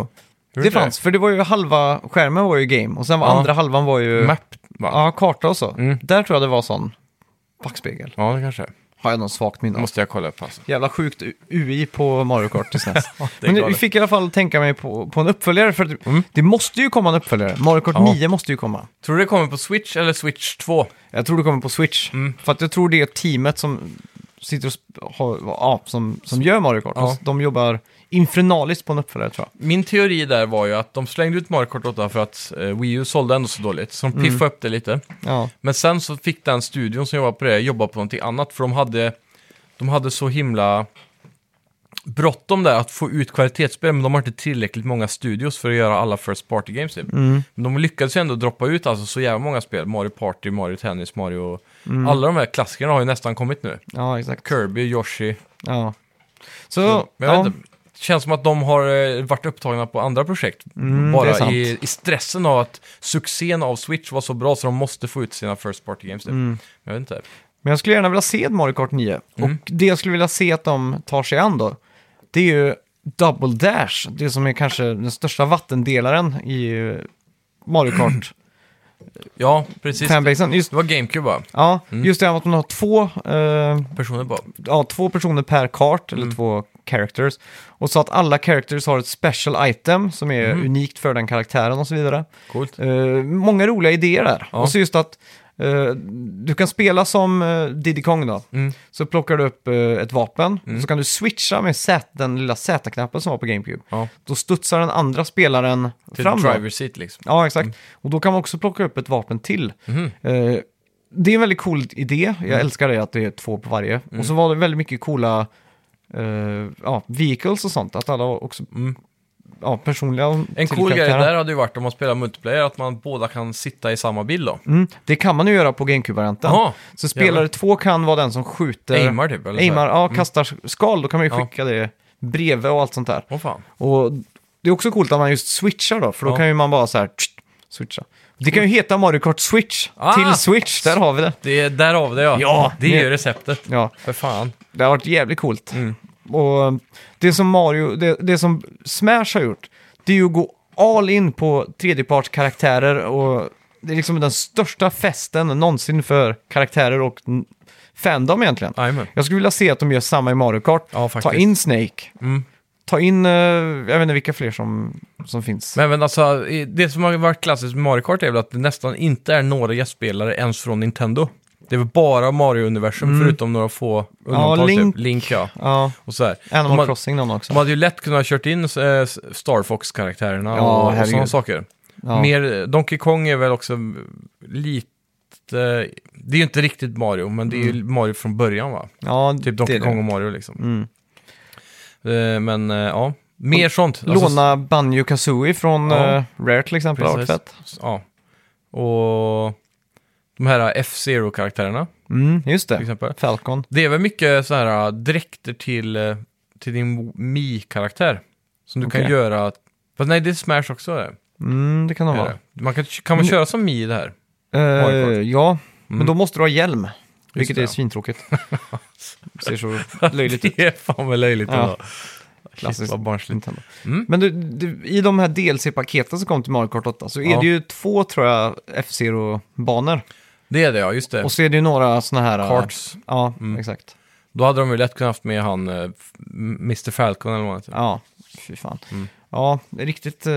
A: Det
B: Tror du inte
A: fanns, för det var ju halva skärmen var ju game och sen var
B: Ja.
A: andra halvan var ju
B: Map va?
A: ja, karta och så.
B: Mm.
A: Där tror jag det var sån backspegel.
B: Ja, det kanske är.
A: Har jag någon svagt minne av.
B: Måste jag kolla upp alltså.
A: Jävla sjukt U- UI på Mario Kart till SNES.
B: det är
A: Men vi
B: galet. Mm.
A: fick i alla fall tänka mig på, på en uppföljare, för att det måste ju komma en uppföljare. Mario Kart
B: Ja.
A: 9 måste ju komma.
B: Tror du det kommer på Switch eller Switch 2?
A: Jag tror det kommer på Switch.
B: Mm.
A: För att jag tror det är teamet som sitter och sp- har, ja, som, som gör Mario Kart.
B: Ja.
A: De jobbar infernaliskt på en uppföljare tror jag.
B: Min teori där var ju att de slängde ut Mario Kart 8 för att eh, Wii U sålde ändå så dåligt, så de piffade upp det lite.
A: Ja.
B: Men sen så fick den studion som jobbade på det jobba på någonting annat, för de hade, de hade så himla bråttom där att få ut kvalitetsspel, men de har inte tillräckligt många studios för att göra alla First Party Games typ. Men de lyckades ju ändå droppa ut alltså så jävla många spel, Mario Party, Mario Tennis, Mario... Alla de här klassikerna har ju nästan kommit nu.
A: ja, exakt.
B: Kirby, Yoshi,
A: Ja. Så,
B: men Mm. jag
A: ja.
B: vet inte. Det känns som att de har eh, varit upptagna på andra projekt.
A: Mm, det är
B: Bara
A: sant.
B: i, i stressen av att succén av Switch var så bra så de måste få ut sina First Party Games. Typ.
A: Mm.
B: Jag vet inte.
A: Men jag skulle gärna vilja se ett Mario Kart 9.
B: Mm.
A: Och det jag skulle vilja se att de tar sig an då, det är ju Double Dash. Det som är kanske den största vattendelaren i eh, Mario Kart-fanbasen.
B: Ja, precis.
A: Just,
B: Mm. Det Mm. var GameCube va?
A: ja, just det här med att man har två, eh,
B: Personer bara.
A: ja, två personer per kart, eller
B: Mm.
A: två characters. Och så att alla characters har ett special item som är
B: Mm.
A: unikt för den karaktären och så vidare.
B: Coolt.
A: Eh, många roliga idéer där.
B: Ja.
A: Och så just att eh, du kan spela som eh, Diddy Kong då.
B: Mm.
A: Så plockar du upp eh, ett vapen, så kan du switcha med Z, den lilla Z-knappen som var på GameCube.
B: Ja.
A: Då studsar den andra spelaren
B: Till
A: fram. då.
B: driver seat liksom.
A: Ja, exakt. Och då kan man också plocka upp ett vapen till.
B: Mm-hmm.
A: Eh, det är en väldigt cool idé.
B: Mm.
A: Jag älskar det att det är två på varje. Och så var det väldigt mycket coola eh, ja, vehicles och sånt. Att alla var också
B: Mm.
A: ja, personliga.
B: En
A: till
B: cool grej
A: karaktären.
B: där hade ju varit om man spelar multiplayer, att man båda kan sitta i samma bil då.
A: Mm, det kan man ju göra på GameCube-varianten.
B: Jaha,
A: Så spelare
B: jävlar.
A: två kan vara den som skjuter...
B: Aimar typ, eller så här.
A: aimar, ja, kastar skal. Då kan man ju
B: Ja.
A: skicka det bredvid och allt sånt där.
B: Åh fan.
A: Och det är också coolt att man just switchar då, för då
B: Ja.
A: kan ju man bara så här... tsch, switcha. Det kan ju heta Mario Kart Switch
B: Ah!
A: till Switch, där har vi det.
B: Det är därav det ja.
A: Ja,
B: det är
A: det-
B: ju receptet.
A: Ja,
B: För fan.
A: det har varit jävligt coolt.
B: Mm.
A: Och det som Mario, det, det som Smash har gjort, det är ju att gå all in på tredjepartskaraktärer och det är liksom den största festen någonsin för karaktärer och n- fandom egentligen.
B: Jajamän.
A: Jag skulle vilja se att de gör samma i Mario Kart.
B: Ja,
A: Ta
B: faktiskt.
A: in Snake.
B: Mm.
A: Ta in, eh, jag vet inte vilka fler som, som finns.
B: Men, men alltså, i- det som har varit klassiskt med Mario Kart är väl att det nästan inte är några gästspelare ens från Nintendo. Det är väl bara Mario-universum förutom några få undantag.
A: Mm. Link.
B: Typ. Link ja.
A: Ja,
B: Och så här.
A: Animal
B: de, hade,
A: Crossing någon också.
B: de hade ju lätt kunnat kört in eh, Star Fox-karaktärerna
A: Ja,
B: och, och
A: herregud.
B: sådana saker.
A: Ja.
B: Mer, Donkey Kong är väl också lite... Det är ju inte riktigt Mario, men det är ju Mario från början va?
A: ja,
B: Typ Donkey
A: Mm. det är det.
B: Kong och Mario liksom.
A: Mm.
B: Eh, Men eh, ja, mer sånt. Alltså,
A: Låna Banjo Kazooie från
B: Ja.
A: eh, Rare till exempel. Det har varit
B: Precis.
A: fett.
B: Ja. Och de här F-Zero-karaktärerna
A: Mm, just
B: till
A: det.
B: exempel.
A: Falcon.
B: Det är väl mycket så här äh, dräkter till, eh, till din Mi-karaktär. Som du kan
A: Okej.
B: göra... Fast nej, det är Smash också. Det.
A: Mm, det kan de
B: Är
A: vara.
B: det. Man kan, kan man
A: Men-
B: köra som Mi i det här?
A: Eh,
B: Mario Kart.
A: ja, men då måste du ha hjälm. Vilket
B: det,
A: är
B: ja.
A: svintråkigt. Ser så löjligt ut.
B: Det är fan vad löjligt
A: Ja.
B: ändå. Shit,
A: Klassiskt.
B: vad barnsligt.
A: Nintendo.
B: Mm.
A: Men du, du, i de här DLC-paketen som kom till Mario Kart 8 så är
B: Ja.
A: det ju två, tror jag, F-Zero-banor.
B: Det är det ja, Mm. just det.
A: Och så är det ju några sådana här... eh,
B: Karts.
A: Ja, exakt.
B: Då hade de ju lätt kunnat haft med han eh, F- Mr. Falcon eller vad han heter.
A: Ja, fy fan.
B: Mm.
A: Ja, det är riktigt... eh,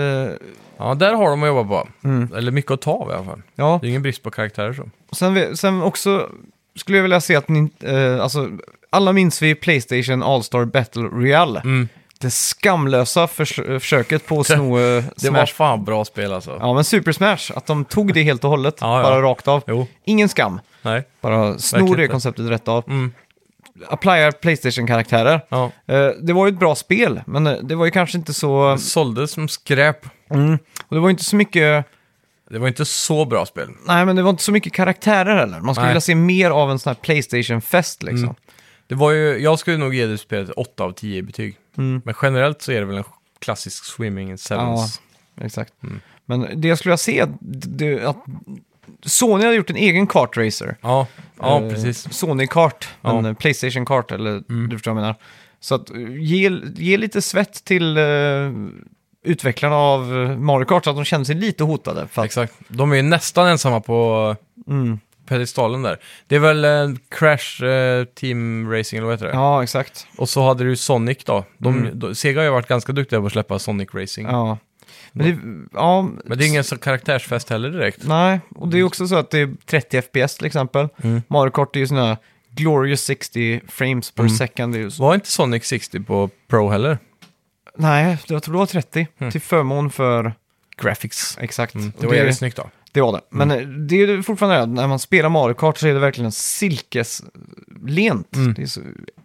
B: Ja, där har de att jobba på.
A: Mm.
B: Eller mycket att ta av i alla fall.
A: ja,
B: Det är ingen brist på karaktärer så.
A: sen, vi- sen också skulle jag vilja se att ni... eh, alltså, alla minns vi Playstation All-Star Battle Royale.
B: Mm.
A: Det skamlösa förs eh, försöket på att sno eh,
B: Det var
A: Smash.
B: fan bra spel alltså.
A: Ja, men Super Smash, att de tog det helt och hållet,
B: Ja, ja.
A: bara rakt av.
B: Jo,
A: Ingen skam,
B: nej.
A: bara snor
B: Verkligen
A: det
B: inte.
A: konceptet rätt av.
B: Mm.
A: Applyar Playstation-karaktärer.
B: Ja.
A: Eh, det var ju ett bra spel, men eh, det var ju kanske inte så...
B: Såldes som skräp.
A: Mm, och det var ju inte så mycket...
B: Det var inte så bra spel.
A: Nej, men det var inte så mycket karaktärer heller. Man skulle
B: Nej. Mm.
A: vilja se mer av en sån här Playstation-fest liksom.
B: Det var ju, jag skulle nog ge det spelet 8 av 10 i betyg.
A: Mm.
B: Men generellt så är det väl en klassisk swimming sevens.
A: Exakt.
B: Mm.
A: Men det jag skulle vilja se, är det, att Sony hade gjort en egen kartracer.
B: Ja, ja,
A: Eh,
B: precis.
A: Sony kart,
B: Ja. Mm.
A: men eh, Playstation kart, eller du förstår vad jag menar. Så att eh, ge, ge lite svett till eh, utvecklarna av eh, Mario Kart så att de känner sig lite hotade. För att,
B: Exakt. De är ju nästan ensamma på,
A: mm,
B: pedestalen där. Det är väl eh, Crash eh, Team Racing eller vad heter det?
A: Ja, exakt.
B: Och så hade du Sonic då. De, de, Sega har ju varit ganska duktiga på att släppa Sonic Racing.
A: Ja. Men det, ja,
B: Men det är ingen så karaktärsfest heller direkt.
A: Nej, och det är också så att det är 30 FPS till exempel.
B: Mm.
A: Mario Kart är ju sådana här glorious 60 frames
B: Mm.
A: per second. Det är ju så.
B: Var inte Sonic 60 på Pro heller?
A: Nej, jag tror det var 30 till förmån för...
B: Graphics.
A: Exakt. Och
B: Mm. Det var Mm. jävligt snyggt då.
A: Det var det. Men eh, det är ju fortfarande det, att när man spelar Mario Kart så är det verkligen
B: Mm.
A: silkeslent. Det är så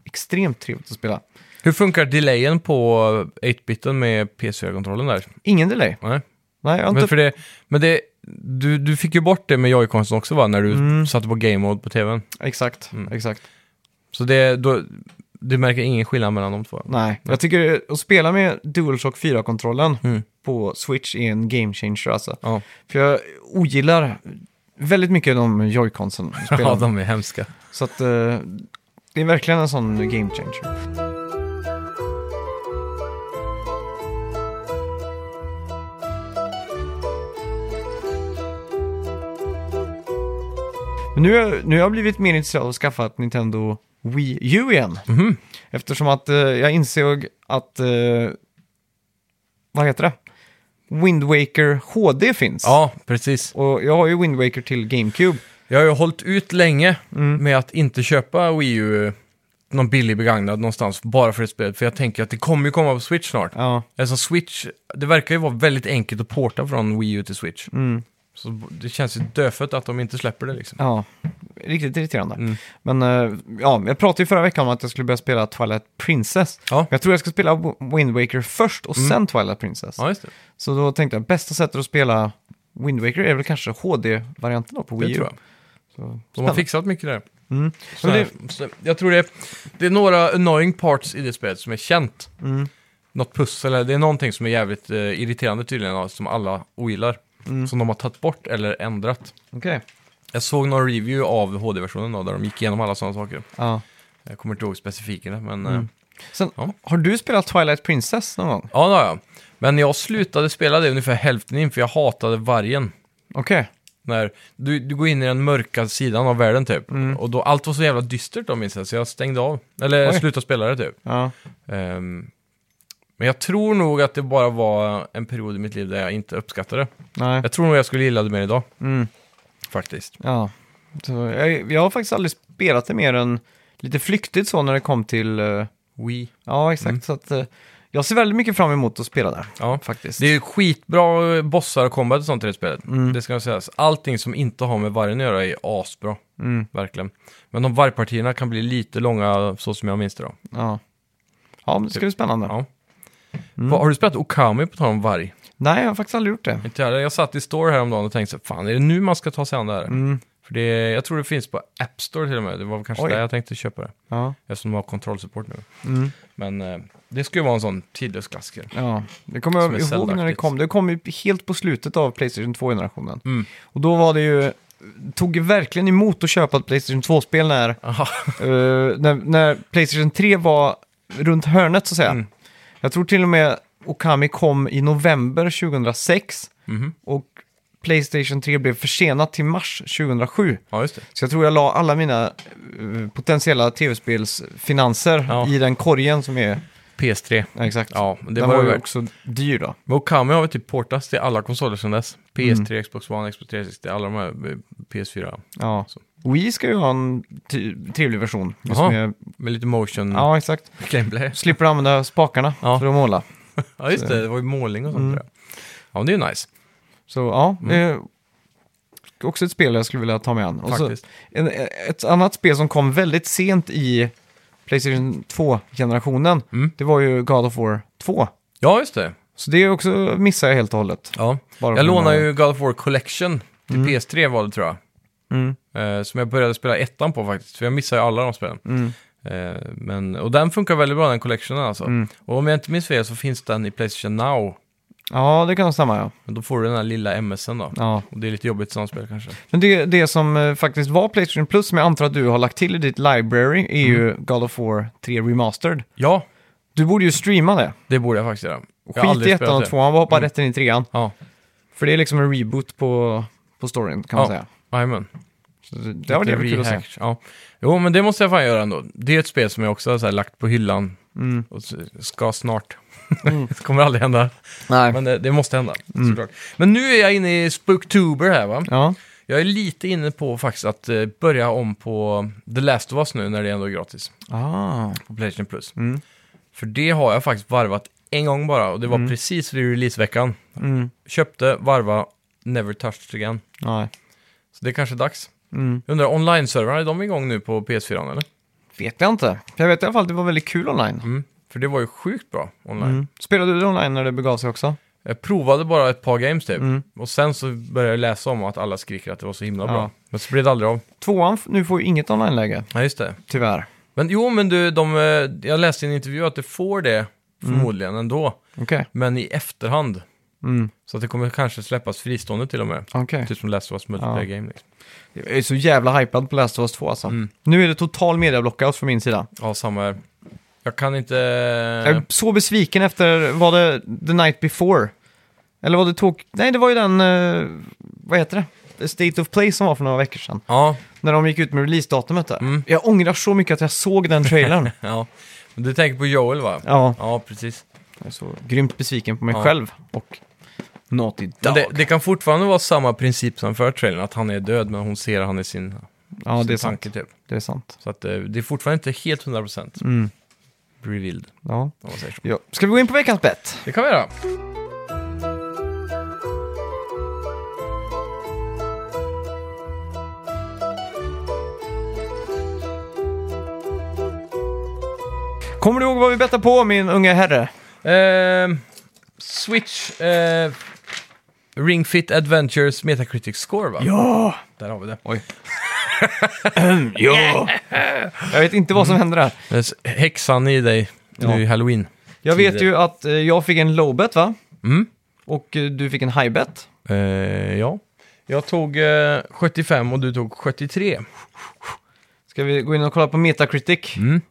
A: extremt trevligt att spela.
B: Hur funkar delayen på 8-biten med PS4-kontrollen där?
A: Ingen delay.
B: Nej.
A: Nej, jag har
B: Men,
A: inte...
B: för det, men det, du, du fick ju bort det med joyconsen också va? När du satte på game mode på tvn.
A: Exakt,
B: Mm.
A: exakt.
B: Så det, då, du märker ingen skillnad mellan de två?
A: Nej, jag tycker att spela med DualShock 4-kontrollen
B: Mm.
A: på Switch är en game changer alltså.
B: Ja,
A: För jag ogillar väldigt mycket de joyconsen. jag spelar
B: ja
A: med.
B: de är hemska.
A: Så att eh, det är verkligen en sån game changer. Men nu, har- nu har jag blivit mer intresserad av att skaffa ett Nintendo Wii U igen. Eftersom att eh, jag insåg att, eh, vad heter det? Wind Waker HD finns.
B: Ja, precis.
A: Och jag har ju Wind Waker till GameCube.
B: Jag har ju hållit ut länge med att inte köpa Wii U eh, någon billig begagnad någonstans bara för ett spel. För jag tänker att det kommer ju komma på Switch snart.
A: Ja.
B: Alltså Switch, det verkar ju vara väldigt enkelt att porta från Wii U till Switch.
A: Mm.
B: Så det känns ju dödfött att de inte släpper det liksom.
A: Ja, riktigt irriterande.
B: Mm.
A: Men eh, ja, jag pratade ju förra veckan om att jag skulle börja spela Twilight Princess.
B: Ja. Mm.
A: Jag tror jag ska spela Wi- Wind Waker först och sen Twilight Princess.
B: Ja, just det.
A: Så då tänkte jag, bästa sättet att spela Wind Waker är väl kanske HD-varianten då på Wii
B: Det
A: U.
B: tror jag.
A: Så,
B: De har
A: spännande.
B: fixat mycket där.
A: Mm.
B: Så här, så jag tror det är, det är några annoying parts i det spelet som är känt.
A: Mm.
B: Något pussel, eller det är någonting som är jävligt eh, irriterande tydligen, ja, som alla ogillar.
A: Mm.
B: Som de har tagit bort eller ändrat.
A: Okej.
B: Jag såg någon review av HD-versionen då, där de gick igenom alla sådana saker.
A: Ja.
B: Jag kommer inte ihåg specifikerna, men... Eh,
A: Sen,
B: Ja.
A: Har du spelat Twilight Princess någon gång?
B: ja, det har jag. Men jag slutade spela det ungefär hälften in, för jag hatade vargen.
A: Okej.
B: När du, du går in i den mörka sidan av världen typ.
A: Mm.
B: Och då, allt var så jävla dystert då minns jag, så jag stängde av. Eller
A: Oj.
B: slutade spela det typ.
A: Ja.
B: Ehm, men jag tror nog att det bara var en period i mitt liv där jag inte uppskattade det.
A: Nej.
B: Jag tror nog jag skulle gilla det mer idag,
A: Mm.
B: faktiskt.
A: Ja. Så, jag, jag har faktiskt aldrig spelat det mer än lite flyktigt så när det kom till... eh,
B: Wii.
A: ja, exakt. Så att, eh, jag ser väldigt mycket fram emot att spela där.
B: Mm. Ja.
A: Faktiskt.
B: Det är ju skitbra eh, bossar och combat och sånt i det spelet.
A: Mm.
B: Det ska jag säga. Allting som inte har med vargen att göra är asbra.
A: Mm,
B: Verkligen. Men de vargpartierna kan bli lite långa så som jag minns det då.
A: ja. ja, men det ska bli spännande.
B: Typ. Ja. Va-
A: Mm.
B: Har du spelat Okami på tal om varg?
A: Nej, jag har faktiskt aldrig gjort det.
B: Inte jag. jag satt i store häromdagen och tänkte så, fan är det nu man ska ta sig an det här?
A: Mm.
B: För det, jag tror det finns på App Store till och med. Det var väl kanske
A: Oj.
B: där jag tänkte köpa det.
A: Ja,
B: Eftersom de har kontrollsupport nu.
A: mm,
B: Men eh, det skulle vara en sån tidlös klassiker.
A: ja. Det kommer
B: Som är
A: jag ihåg när det
B: Zelda-aktigt.
A: kom. Det kom ju helt på slutet av Playstation 2-generationen.
B: Mm.
A: Och då var det ju... Tog ju verkligen emot att köpa ett Playstation 2-spel när,
B: Aha.
A: eh, när, när Playstation 3 var runt hörnet, så att säga.
B: Mm.
A: Jag tror till och med Okami kom i november 2006
B: Mhm.
A: och Playstation 3 blev försenat till mars 2007.
B: Ja, just det.
A: Så jag tror jag la alla mina eh, potentiella tv-spelsfinanser
B: Ja.
A: i den korgen som är...
B: PS3.
A: Ja, exakt.
B: Ja, men det
A: den
B: var,
A: var
B: ju
A: ju
B: värt.
A: också dyr då.
B: Men Okami har väl typ portats till alla konsoler sedan dess.
A: Mm.
B: PS3, Xbox One, Xbox 360, alla de här eh, PS4.
A: Ja.
B: Så.
A: Wii ska ju ha en ty- trevlig version. just
B: Jaha. Mm.
A: Med,
B: Med lite motion
A: ja, exakt.
B: gameplay.
A: Slipper använda spakarna
B: Ja.
A: för att måla.
B: Ja, just det. Det var ju målning och sånt
A: Mm.
B: där. Ja, det är ju nice.
A: Så ja,
B: Mm.
A: det är också ett spel jag skulle vilja ta mig an. Och så,
B: Faktiskt.
A: en, ett annat spel som kom väldigt sent i Playstation 2-generationen,
B: Mm.
A: det var ju God of War 2.
B: Ja, just det.
A: Så det är också missar jag helt och hållet.
B: Ja.
A: Bara
B: Jag
A: på grund av-
B: lånade ju God of War Collection till PS3 var det tror jag.
A: Mm.
B: Eh, som jag började spela ettan på faktiskt, för jag missar ju alla de spelen.
A: Mm.
B: Eh, men, och den funkar väldigt bra, den collectionen alltså.
A: Mm.
B: Och om jag inte minns fel så finns den i Playstation Now.
A: Ja, det kan nog stämma ja.
B: Men då får du den här lilla MSen då.
A: ja.
B: Och det är lite jobbigt samspel kanske.
A: Men det, det som eh, faktiskt var Playstation Plus, som jag antar att du har lagt till i ditt library, är ju
B: Mm.
A: God of War 3 Remastered.
B: Ja,
A: Du borde ju streama det.
B: det borde jag faktiskt göra. Jag har
A: Skit
B: aldrig
A: i
B: spelat
A: ettan och
B: det. Mm.
A: tvåan, bara hoppa rätt in i trean.
B: Ja,
A: För det är liksom en reboot på, på storyn, kan man
B: Ja.
A: säga.
B: jajamän.
A: Så Det var det var kul att se.
B: Rehacked, ja. Jo, men det måste jag fan göra ändå. Det är ett spel som jag också har så här, lagt på hyllan
A: Mm.
B: och s- ska snart. det kommer aldrig hända,
A: Nej.
B: men det, det måste hända såklart. Men nu är jag inne i Spooktober här va?
A: Ja.
B: Jag är lite inne på faktiskt att eh, börja om på The Last of Us nu när det ändå är gratis
A: Ah.
B: på Playstation Plus.
A: Mm.
B: För det har jag faktiskt varvat en gång bara och det var precis vid releaseveckan.
A: Mm.
B: Köpte, varva, never touched again.
A: Nej.
B: Så det är kanske dags.
A: Mm.
B: Jag undrar, online-servrarna, är de igång nu på PS4 eller?
A: Vet jag inte. Jag vet i alla fall att det var väldigt kul online.
B: Mm. För det var ju sjukt bra online.
A: Mm. Spelade du online när det begav sig också?
B: Jag provade bara ett par games typ.
A: Mm.
B: Och sen så började jag läsa om att alla skriker att det var så himla
A: Ja.
B: bra. Men så blev det aldrig av.
A: Tvåan f- nu får ju inget online-läge,
B: Ja, just det.
A: tyvärr.
B: Men jo, men du, de, eh, jag läste i en intervju att det får det förmodligen ändå.
A: Okej.
B: Men i efterhand.
A: Mm.
B: Så att det kommer kanske släppas fristående till och med.
A: Okej.
B: Typ som Last of Us Multiplayer Game. Liksom.
A: Jag är så jävla hypad på Last of Us 2 alltså.
B: Mm.
A: Nu är det total mediablockout från min sida.
B: Ja, samma här. Jag kan inte... Eh.
A: Jag är så besviken efter, var det The Night Before? Eller var det tog... Nej, det var ju den, eh, vad heter det? The State of Play som var för några veckor sedan.
B: Ja,
A: När de gick ut med releasedatumet där.
B: Mm.
A: Jag ångrar så mycket att jag såg den trailern.
B: ja. Men du tänker på Joel va?
A: ja,
B: Ja, precis.
A: jag är så grymt besviken på mig
B: Ja.
A: själv och Naughty
B: Men
A: Dog.
B: det, det kan fortfarande vara samma princip som för trailern, att han är död men hon ser han i sin,
A: ja,
B: sin
A: det är sant.
B: tanke typ.
A: Det är sant.
B: Så att eh, det är fortfarande inte helt 100%
A: Mm.
B: revealed,
A: Ja.
B: om man säger så.
A: Ja. Ska vi gå in på veckans bett?
B: Det kan vi göra.
A: Kommer du ihåg vad vi bettade på min unge herre?
B: Ehm, Switch, eh, Ring Fit Adventures Metacritic Score va?
A: Ja!
B: Där har vi det.
A: Oj. ja! Jag vet inte vad som hände där.
B: Det är Häxan i dig
A: Ja.
B: nu i halloween.
A: Jag
B: Tider.
A: vet ju att eh, jag fick en low bet va?
B: Mm.
A: Och eh, du fick en high bet.
B: Eh, ja. Jag tog eh, 75 och du tog 73.
A: Ska vi gå in och kolla på Metacritic?
B: Mm.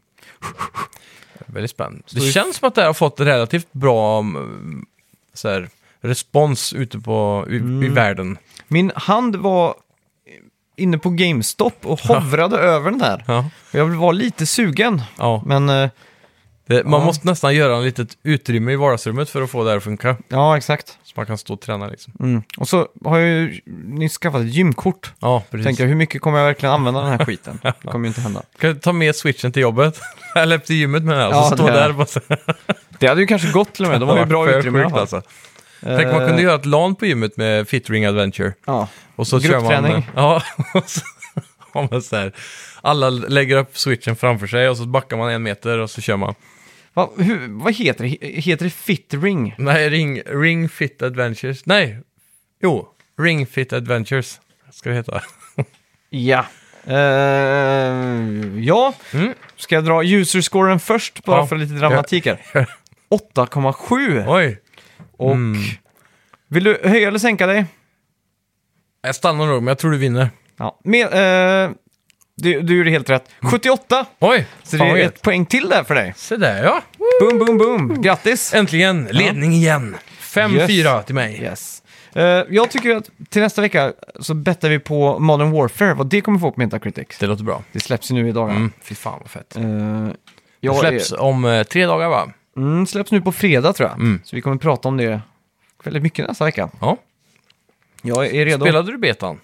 B: Väldigt spännande. Det
A: Så vi-
B: känns som att det här har fått relativt bra mm, så här, respons ute på, i, i
A: Mm.
B: världen.
A: Min hand var inne på GameStop och hovrade över den där.
B: Ja.
A: Jag var lite sugen,
B: Ja.
A: men eh,
B: Det, man
A: Ja.
B: måste nästan göra en litet utrymme i vardagsrummet för att få det här att funka.
A: ja exakt.
B: Så man kan stå och träna liksom.
A: Mm. Och så har jag ju nyss skaffat ett gymkort.
B: Ja, precis.
A: Tänker jag, hur mycket kommer jag verkligen använda den här skiten? Det kommer ju inte hända.
B: Kan du ta med switchen till jobbet? Eller till gymmet med den här, och
A: Ja,
B: så stå
A: det-
B: där och bara så här.
A: Det hade ju kanske gått till och med, de har ju bra
B: För
A: utrymme i alla
B: sjukt,
A: fall. Eh,
B: alltså. Tänk om man kunde göra ett LAN på gymmet med Fitring Adventure.
A: Ja.
B: Och så kör man...
A: Gruppträning.
B: Ja, och så har man så här. Alla lägger upp switchen framför sig och så backar man en meter och så kör man.
A: Va, hur, vad heter det? He- Heter det fit ring?
B: Nej, Ring, ring Fit Adventures. Nej, jo. Ring Fit Adventures ska det heta.
A: Ja. Eh, ja,
B: Mm.
A: ska jag dra userscoren först bara
B: Ja.
A: för lite dramatik här? 8,7
B: Oj.
A: och...
B: Mm.
A: Vill du höja eller sänka dig?
B: Jag stannar nog, men jag tror du vinner.
A: Ja. Med, eh, du, du gjorde helt rätt. 78!
B: Oj,
A: Så
B: fan
A: det
B: vad
A: är
B: gött.
A: ett poäng till där för dig.
B: Se där ja.
A: Boom, boom, boom! Grattis!
B: Äntligen, ledning igen. 5-4
A: Yes.
B: till mig.
A: Yes. Eh, jag tycker att till nästa vecka så bettar vi på Modern Warfare, vad det kommer få på Metacritic.
B: Det låter bra.
A: Det släpps ju nu i dagarna.
B: Mm. Fy fan vad fett.
A: Eh,
B: Mm. Det
A: jag
B: släpps
A: Är,
B: om eh, tre dagar va?
A: mm, släpps nu på fredag tror jag.
B: Mm.
A: Så vi kommer prata om det väldigt mycket nästa vecka.
B: Ja.
A: Jag är redo.
B: Spelade du betan?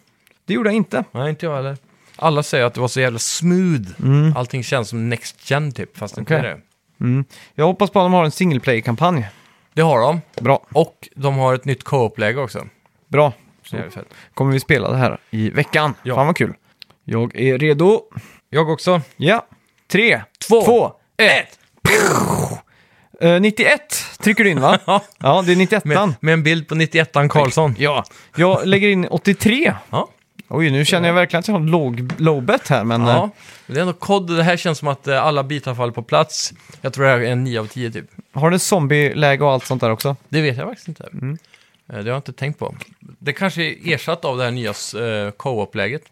A: Det gjorde jag inte.
B: Nej, inte jag heller. Alla säger att det var så jävla smooth. Allting känns som Next Gen typ, fast det inte är
A: Mm. Okej.
B: det.
A: Mm. Jag hoppas på att de har en single play-kampanj.
B: Det har de.
A: Bra,
B: Och de har ett nytt co-op-läge också.
A: bra.
B: Så jävligt fett.
A: Kommer vi spela det här i veckan.
B: Ja.
A: Fan vad kul. Jag är redo.
B: Jag också.
A: Ja. Tre,
B: Två,
A: två
B: Ett!
A: eh, 91 trycker du in va?
B: Ja.
A: ja, det är 91
B: Med, med en bild på 91an Karlsson.
A: Ja, jag lägger in 83.
B: Ja.
A: Oj, nu känner jag verkligen att jag har en låg, low bet här, men... eh,
B: ja. Men Det är ändå kod. Det här känns som att eh, alla bitar faller på plats. Jag tror det här är en 9 av 10 typ.
A: eh, Har den zombie-läge och allt sånt där också?
B: Det vet jag faktiskt inte.
A: Mm.
B: Eh, Det har jag inte tänkt på. Det kanske är ersatt av det här nya eh, co-op-läget.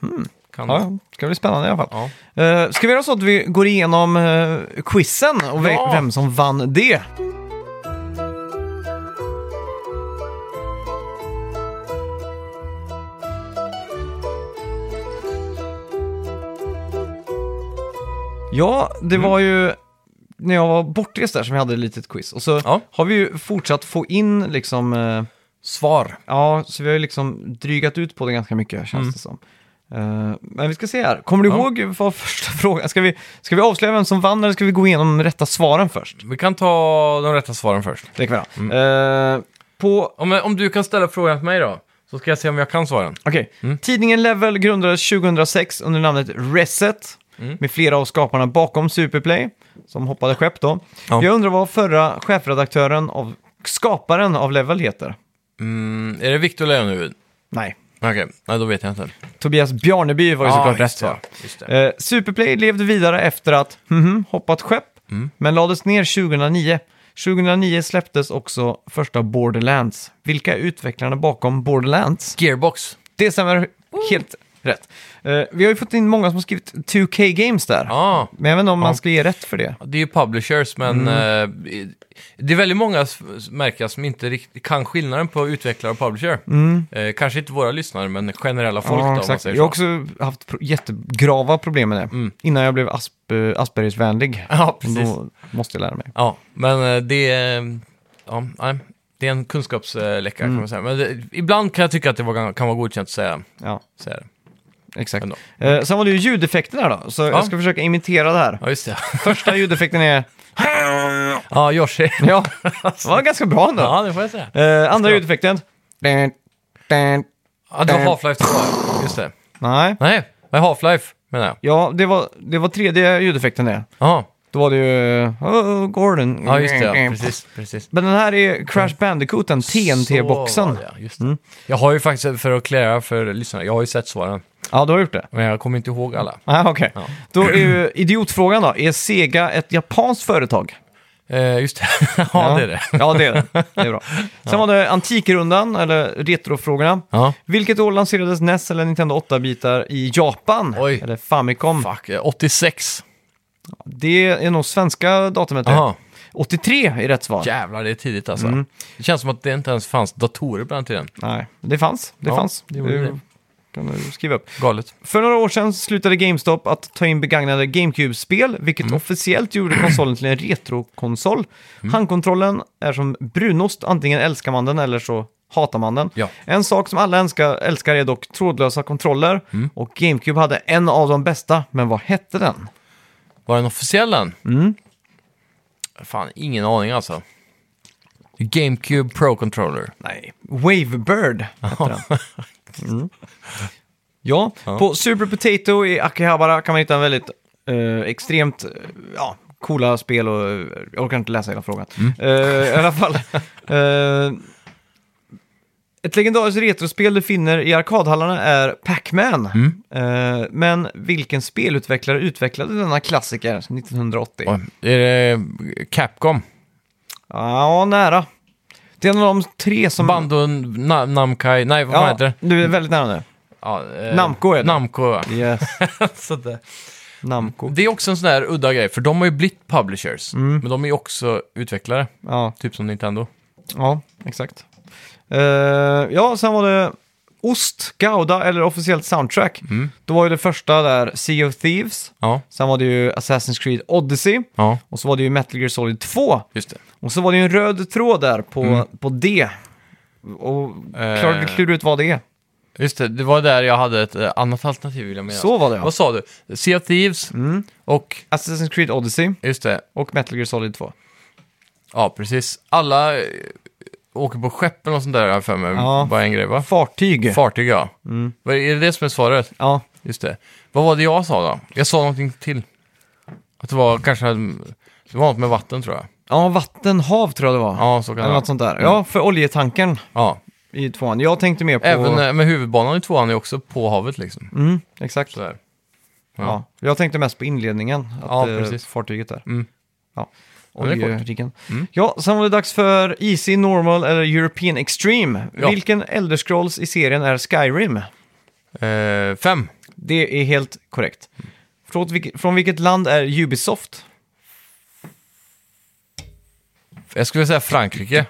B: Kan...
A: Mm. Ja, ja. det ska bli spännande i alla fall.
B: Ja.
A: Eh, ska vi göra så att vi går igenom eh, quizen och ve-
B: Ja.
A: vem som vann det? Ja, det
B: Mm.
A: var ju när jag var bortrest där som vi hade ett litet quiz. Och så
B: Ja.
A: har vi ju fortsatt få in liksom, eh,
B: Svar.
A: ja, så vi har ju liksom drygat ut på det ganska mycket känns det som. Eh, men vi ska se här, kommer du
B: Mm. Ja.
A: ihåg vad första frågan, ska vi, ska vi avslöja vem som vann eller ska vi gå igenom de rätta svaren först?
B: Vi kan ta de rätta svaren först.
A: Det kan vi göra.
B: Mm.
A: Eh, på,
B: Om, om du kan ställa frågan till mig då, så ska jag se om jag kan svaren.
A: okej,
B: Mm.
A: tidningen Level grundades 2006 under namnet Reset.
B: Mm.
A: Med flera av skaparna bakom Superplay, som hoppade skepp då.
B: Ja.
A: Jag undrar vad förra chefredaktören av skaparen av Level heter.
B: Mm, är det Victor Lejonhufvud?
A: Nej.
B: Okej, nej då vet jag inte.
A: Tobias Bjarneby var ju såklart rätt
B: just det,
A: svar.
B: just det.
A: Eh, Superplay levde vidare efter att mhm, hoppat skepp,
B: Mm.
A: men lades ner 2009. 2009 släpptes också första Borderlands. Vilka är utvecklarna bakom Borderlands?
B: Gearbox.
A: Det stämmer helt rätt. Eh, vi har ju fått in många som har skrivit 2K Games där.
B: Ja,
A: Men jag vet inte om man ska ge rätt för det.
B: det är ju publishers, men
A: Mm.
B: eh, det är väldigt många s- märker jag som inte riktigt kan skillnaden på utvecklare och publisher. Eh, kanske inte våra lyssnare, men generella folk då, om man säger
A: Mm. Jag har
B: så. Mm.
A: också haft pro- jättegrava problem med det. Innan jag blev asp- eh, Aspergersvänlig.
B: Ja, precis.
A: Då måste jag lära mig.
B: Ja, men eh, det är... Ja, nej. Det är en kunskapsläcka
A: Mm.
B: kan man säga. Men det, ibland kan jag tycka att det var, kan vara godkänt att säga,
A: Ja,
B: säga det.
A: exakt.
B: Ändå.
A: Eh, sen var det ju ljudeffekterna då, så jag ska försöka imitera det här.
B: Ja, just det.
A: Första ljudeffekten är...
B: ja, Yoshi.
A: Ja, det var ganska bra ändå.
B: ja, det får jag säga.
A: Eh, andra ljudeffekten... Dun, dun.
B: Ja,
A: Eh.
B: det var Half-Life 2. Just det.
A: Nej.
B: Nej, nej Half-Life menar jag.
A: Ja, det var, det var tredje ljudeffekten det.
B: Ja,
A: Då var det ju... Oh, Gordon.
B: ja just det. Ja.
A: Mm.
B: Precis, precis.
A: Men den här är Crash Bandicooten, TNT-boxen.
B: Så var det, Just det. Jag har ju faktiskt, för att klara för lyssnarna, jag har ju sett svaren.
A: Ja, du har gjort det.
B: Men jag kommer inte ihåg alla.
A: Ah, okej. Då är ju idiotfrågan då. Är Sega ett japanskt företag?
B: Eh, just det, ja, ja det är det.
A: Ja, det är det. Det är bra. Sen var det Antikrundan, eller Retrofrågorna.
B: Ja.
A: Vilket år lanserades NES eller Nintendo 8-bitar i Japan?
B: Oj.
A: Eller Famicom.
B: Fuck, eh, 86.
A: Det är nog svenska datumet. det.
B: Aha.
A: 83 är rätt svar.
B: Jävlar, det är tidigt alltså. Det känns som att det inte ens fanns datorer på den tiden.
A: Nej, det fanns. Det
B: Ja,
A: fanns.
B: det gjorde det.
A: kan du skriva upp.
B: Galet.
A: För några år sedan slutade GameStop att ta in begagnade GameCube-spel, vilket
B: Mm.
A: officiellt gjorde konsolen till en retrokonsol. Handkontrollen är som brunost, antingen älskar man den eller så hatar man den.
B: Ja.
A: En sak som alla älskar, älskar är dock trådlösa kontroller
B: Mm.
A: och GameCube hade en av de bästa, men vad hette den?
B: Var den officiell än? Fan, ingen aning alltså. GameCube Pro Controller.
A: Nej, Wavebird hette den. Mm. Ja, på Super Potato i Akihabara kan man hitta en väldigt eh, extremt eh, ja, coola spel och eh, jag orkar inte läsa hela frågan.
B: Mm.
A: Eh, I alla fall. eh, ett legendariskt retrospel du finner i arkadhallarna är Pac-Man.
B: Mm.
A: Eh, men vilken spelutvecklare utvecklade denna klassiker 1980?
B: Oj, är det Capcom?
A: Ja, nära. Det är en av de tre som...
B: Bando na, Namkai... Nej, vad fan
A: ja,
B: heter det?
A: du är väldigt nära nu.
B: Ja, eh,
A: Namco är det.
B: Namco, ja.
A: Yes,
B: Så det-
A: Namco.
B: Det är också en sån här udda grej, för de har ju blivit publishers.
A: Mm.
B: Men de är ju också utvecklare,
A: Ja,
B: typ som Nintendo.
A: ja exakt. Eh, ja, sen var det Ost, Gouda eller officiellt soundtrack. Då var ju det första där Sea of Thieves.
B: Ja,
A: Sen var det ju Assassin's Creed Odyssey.
B: ja
A: Och så var det ju Metal Gear Solid 2.
B: just det.
A: Och så var det ju en röd tråd där på, på D. Och klart vi klurar ut vad det är.
B: Just det, det var där jag hade ett eh, annat alternativ vill jag mena.
A: Så var det ja. Mm.
B: Vad sa du? Sea of Thieves och,
A: Assassin's Creed Odyssey
B: just det,
A: och Metal Gear Solid 2.
B: ja precis. Alla eh, åker på skeppen och sånt där har jag för mig,
A: Ja.
B: var en grej va?
A: Fartyg. Mm.
B: Fartyg ja. Vad Är det det som är svaret?
A: ja,
B: Just det. Vad var det jag sa då? Jag sa någonting till. Att det var kanske, mm, det var något med vatten tror jag.
A: ja vatten, hav tror jag det var. Mm.
B: Ja, så kan det
A: eller
B: vara.
A: något sånt där. Ja, för oljetankern
B: Ja,
A: i tvåan. Jag tänkte mer på...
B: Även eh, med huvudbanan i tvåan är också på havet liksom.
A: Mm, exakt.
B: Sådär.
A: Ja. Jag tänkte mest på inledningen, att
B: Ja,
A: eh,
B: precis.
A: fartyget där.
B: Mm.
A: Ja.
B: Ja, det är kort. Mm.
A: Oljeriggen. Ja, sen var det dags för Easy, Normal eller European Extreme.
B: Ja.
A: Vilken Elder Scrolls i serien är Skyrim?
B: Eh, fem.
A: Det är helt korrekt. Från vilket, från vilket land är Ubisoft?
B: Jag skulle säga Frankrike.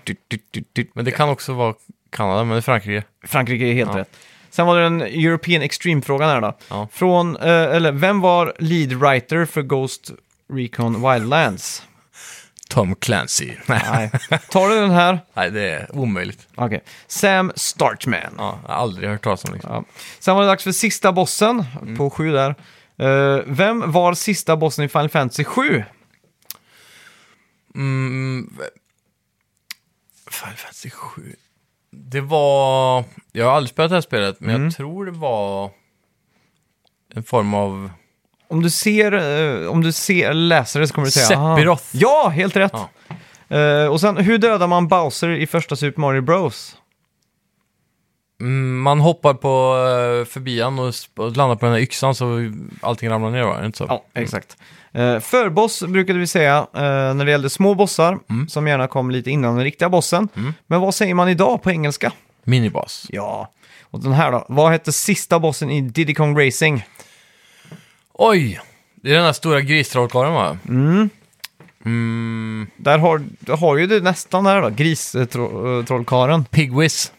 B: Men det kan också vara Kanada, men det är Frankrike.
A: Frankrike är helt
B: Ja.
A: rätt. Sen var det den European Extreme-frågan här då.
B: Ja.
A: Från, eh, eller vem var lead writer för Ghost Recon Wildlands?
B: Tom Clancy. Nej,
A: Nej. Tar du den här?
B: Nej det är omöjligt.
A: Okej. Sam Startman.
B: Ja, jag har aldrig hört talas om liksom.
A: Ja. Sen var det dags för sista bossen, på sju där. Eh, vem var sista bossen i Final Fantasy 7?
B: Mm, Final Fantasy 7. Det var... Jag har aldrig spelat det här spelet, men jag tror det var en form av...
A: Om du ser, eh, om du ser, läser det så kommer du säga...
B: Sephiroth.
A: "Aha." Ja, helt rätt!
B: Ja.
A: Eh, och sen, hur dödar man Bowser i första Super Mario Bros?
B: Mm, man hoppar på eh, förbi han och, sp- och landar på den här yxan så allting ramlar ner va? Är det inte så?
A: Ja, exakt. Eh, förboss brukade vi säga eh, när det gällde små bossar, som gärna kom lite innan den riktiga bossen. Men vad säger man idag på engelska?
B: Minibas.
A: Mm. Ja, och den här då. Vad hette sista bossen i Diddy Kong Racing?
B: Oj! Det är den där stora gristrallkarlen va? Mm. Mm,
A: Där har, där har ju du nästan där då, gristrolkaren.
B: Pigwiz.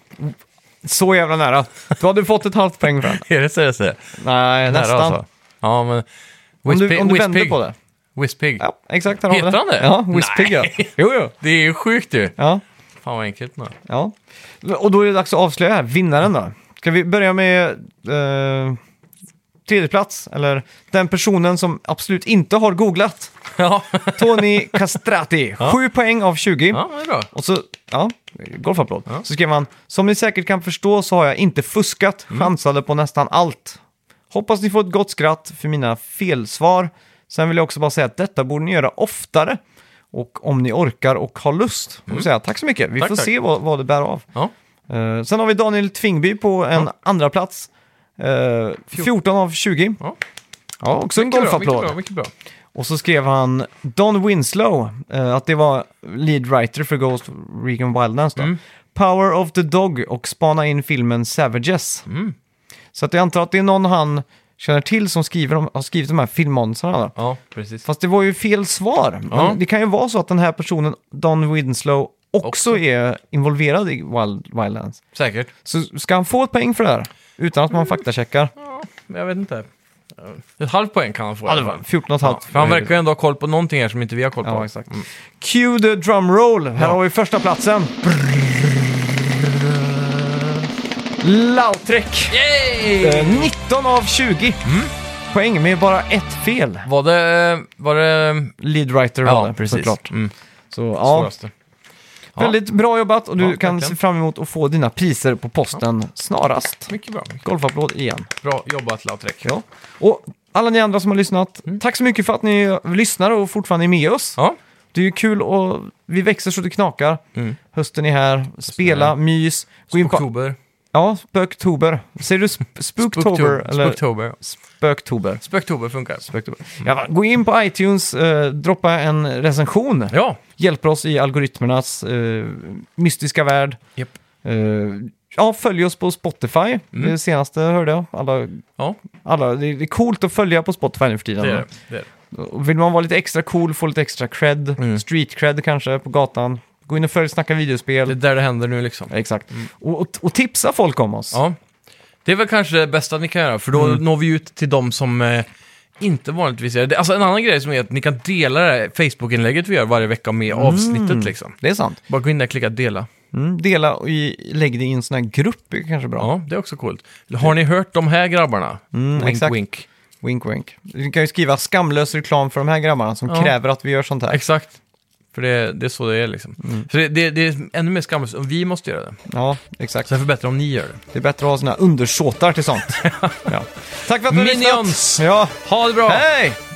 A: Så jävla nära. Du hade fått ett halvt poäng för den.
B: Är det seriöst det?
A: Nej, nästan.
B: Nära alltså. Ja, men...
A: Om du,
B: Whispig-
A: om du
B: Whispig.
A: vänder på det.
B: Whispig.
A: Ja, exakt. Där har vi
B: Heter han det?
A: Ja, Whispig ja.
B: Nej.
A: Jo, jo.
B: Det är ju sjukt ju.
A: Ja,
B: Fan vad enkelt nu.
A: ja. Och då är det dags att avslöja här, vinnaren då. Ska vi börja med eh, tredje plats eller den personen som absolut inte har googlat.
B: Ja,
A: Tony Castrati, 7 poäng av 20.
B: ja det är bra.
A: Och så, ja, golfapplåd. Så skrev han, som ni säkert kan förstå så har jag inte fuskat,
B: Mm.
A: chansade på nästan allt. Hoppas ni får ett gott skratt för mina felsvar. Sen vill jag också bara säga att detta borde ni göra oftare. Och om ni orkar och har lust. Får vi säga, tack så mycket, vi
B: Mm. Tack,
A: får
B: tack.
A: se vad, vad det bär av.
B: Ja.
A: Eh, sen har vi Daniel Tvingby på en andra plats. Eh, 14 av 20.
B: Ja.
A: Ja, också en
B: Mycket bra,
A: golfapplåd.
B: mycket bra, mycket bra.
A: Och så skrev han Don Winslow, eh, att det var lead writer för Ghost Recon Wildlands
B: Mm.
A: då. Power of the Dog och spana in filmen Savages.
B: Mm.
A: Så att jag antar att det är någon han känner till som skriver, om- har skrivit de här filmmonstrarna. då.
B: Ja, precis.
A: Fast det var ju fel svar. Men
B: Ja.
A: Det kan ju vara så att den här personen, Don Winslow, också,
B: Också.
A: är involverad i Wild, Wildlands.
B: Säkert.
A: Så ska han få ett poäng för det här? Utan att man faktacheckar.
B: Men jag vet inte. Ett halvt poäng kan han få. i alla fall.
A: 14 och ett
B: Ja,
A: halvt.
B: för han verkar ju ändå ha koll på någonting här som inte vi har koll på.
A: Ja, exakt. Cue the drum roll. Här har vi första platsen. Lautrec.
B: Yay! Mm.
A: Eh, 19 av 20 poäng med bara ett fel.
B: Var det... Var det...
A: Lead writer var det, såklart.
B: Mm.
A: Så, ja,
B: Svåraste. Ja.
A: väldigt bra jobbat och du
B: Ja,
A: kan
B: verkligen.
A: se fram emot att få dina priser på posten snarast.
B: Mycket bra.
A: Golfapplåd igen.
B: Bra jobbat Lautrec.
A: Ja. Och alla ni andra som har lyssnat,
B: Mm.
A: tack så mycket för att ni lyssnar och fortfarande är med oss.
B: Ja.
A: Det är ju kul och vi växer så det knakar.
B: Mm.
A: Hösten är här, spela, mys. Gå in på,
B: Oktober.
A: ja, spöktober. Säger du sp spooktober eller
B: Spooktober.
A: spöktober?
B: Spöktober funkar.
A: Spöktober. Ja, va, gå in på iTunes, eh, droppa en recension.
B: Ja.
A: Hjälper oss i algoritmernas eh, mystiska värld.
B: Japp. Mm.
A: Eh, ja, följ oss på Spotify. Det senaste hörde jag. Alla,
B: Ja,
A: alla, det det är coolt att följa på Spotify nu för tiden.
B: det är det. det, är det.
A: Och Vill man vara lite extra cool, få lite extra cred,
B: Mm.
A: street cred kanske på gatan. Gå in och följ Snacka videospel.
B: Det är där det händer nu liksom.
A: Exakt. Och, och, och tipsa folk om oss.
B: Ja. Det är väl kanske det bästa ni kan göra, för då når vi ut till de som eh, inte vanligtvis gör det. Alltså en annan grej som är att ni kan dela det här Facebook-inlägget vi gör varje vecka med avsnittet liksom.
A: Det är sant.
B: Bara gå in där och klicka dela.
A: Mm. Dela och i, lägg det i en sån här grupp är kanske bra. Mm.
B: Ja, det är också coolt. Har ni hört de här grabbarna? wink,
A: exakt.
B: wink.
A: Wink wink. Du kan ju skriva skamlös reklam för de här grabbarna som
B: Ja.
A: kräver att vi gör sånt här.
B: Exakt. För det, det är så det är liksom. För det, det, det är ännu mer skamlöst om vi måste göra det.
A: Ja, exakt.
B: Sen förbättra om ni gör det.
A: Det är bättre att ha såna här undersåtar till sånt. ja. Tack för att du har
B: Minions!
A: lyssnat. Ja.
B: Ha det bra!
A: Hej!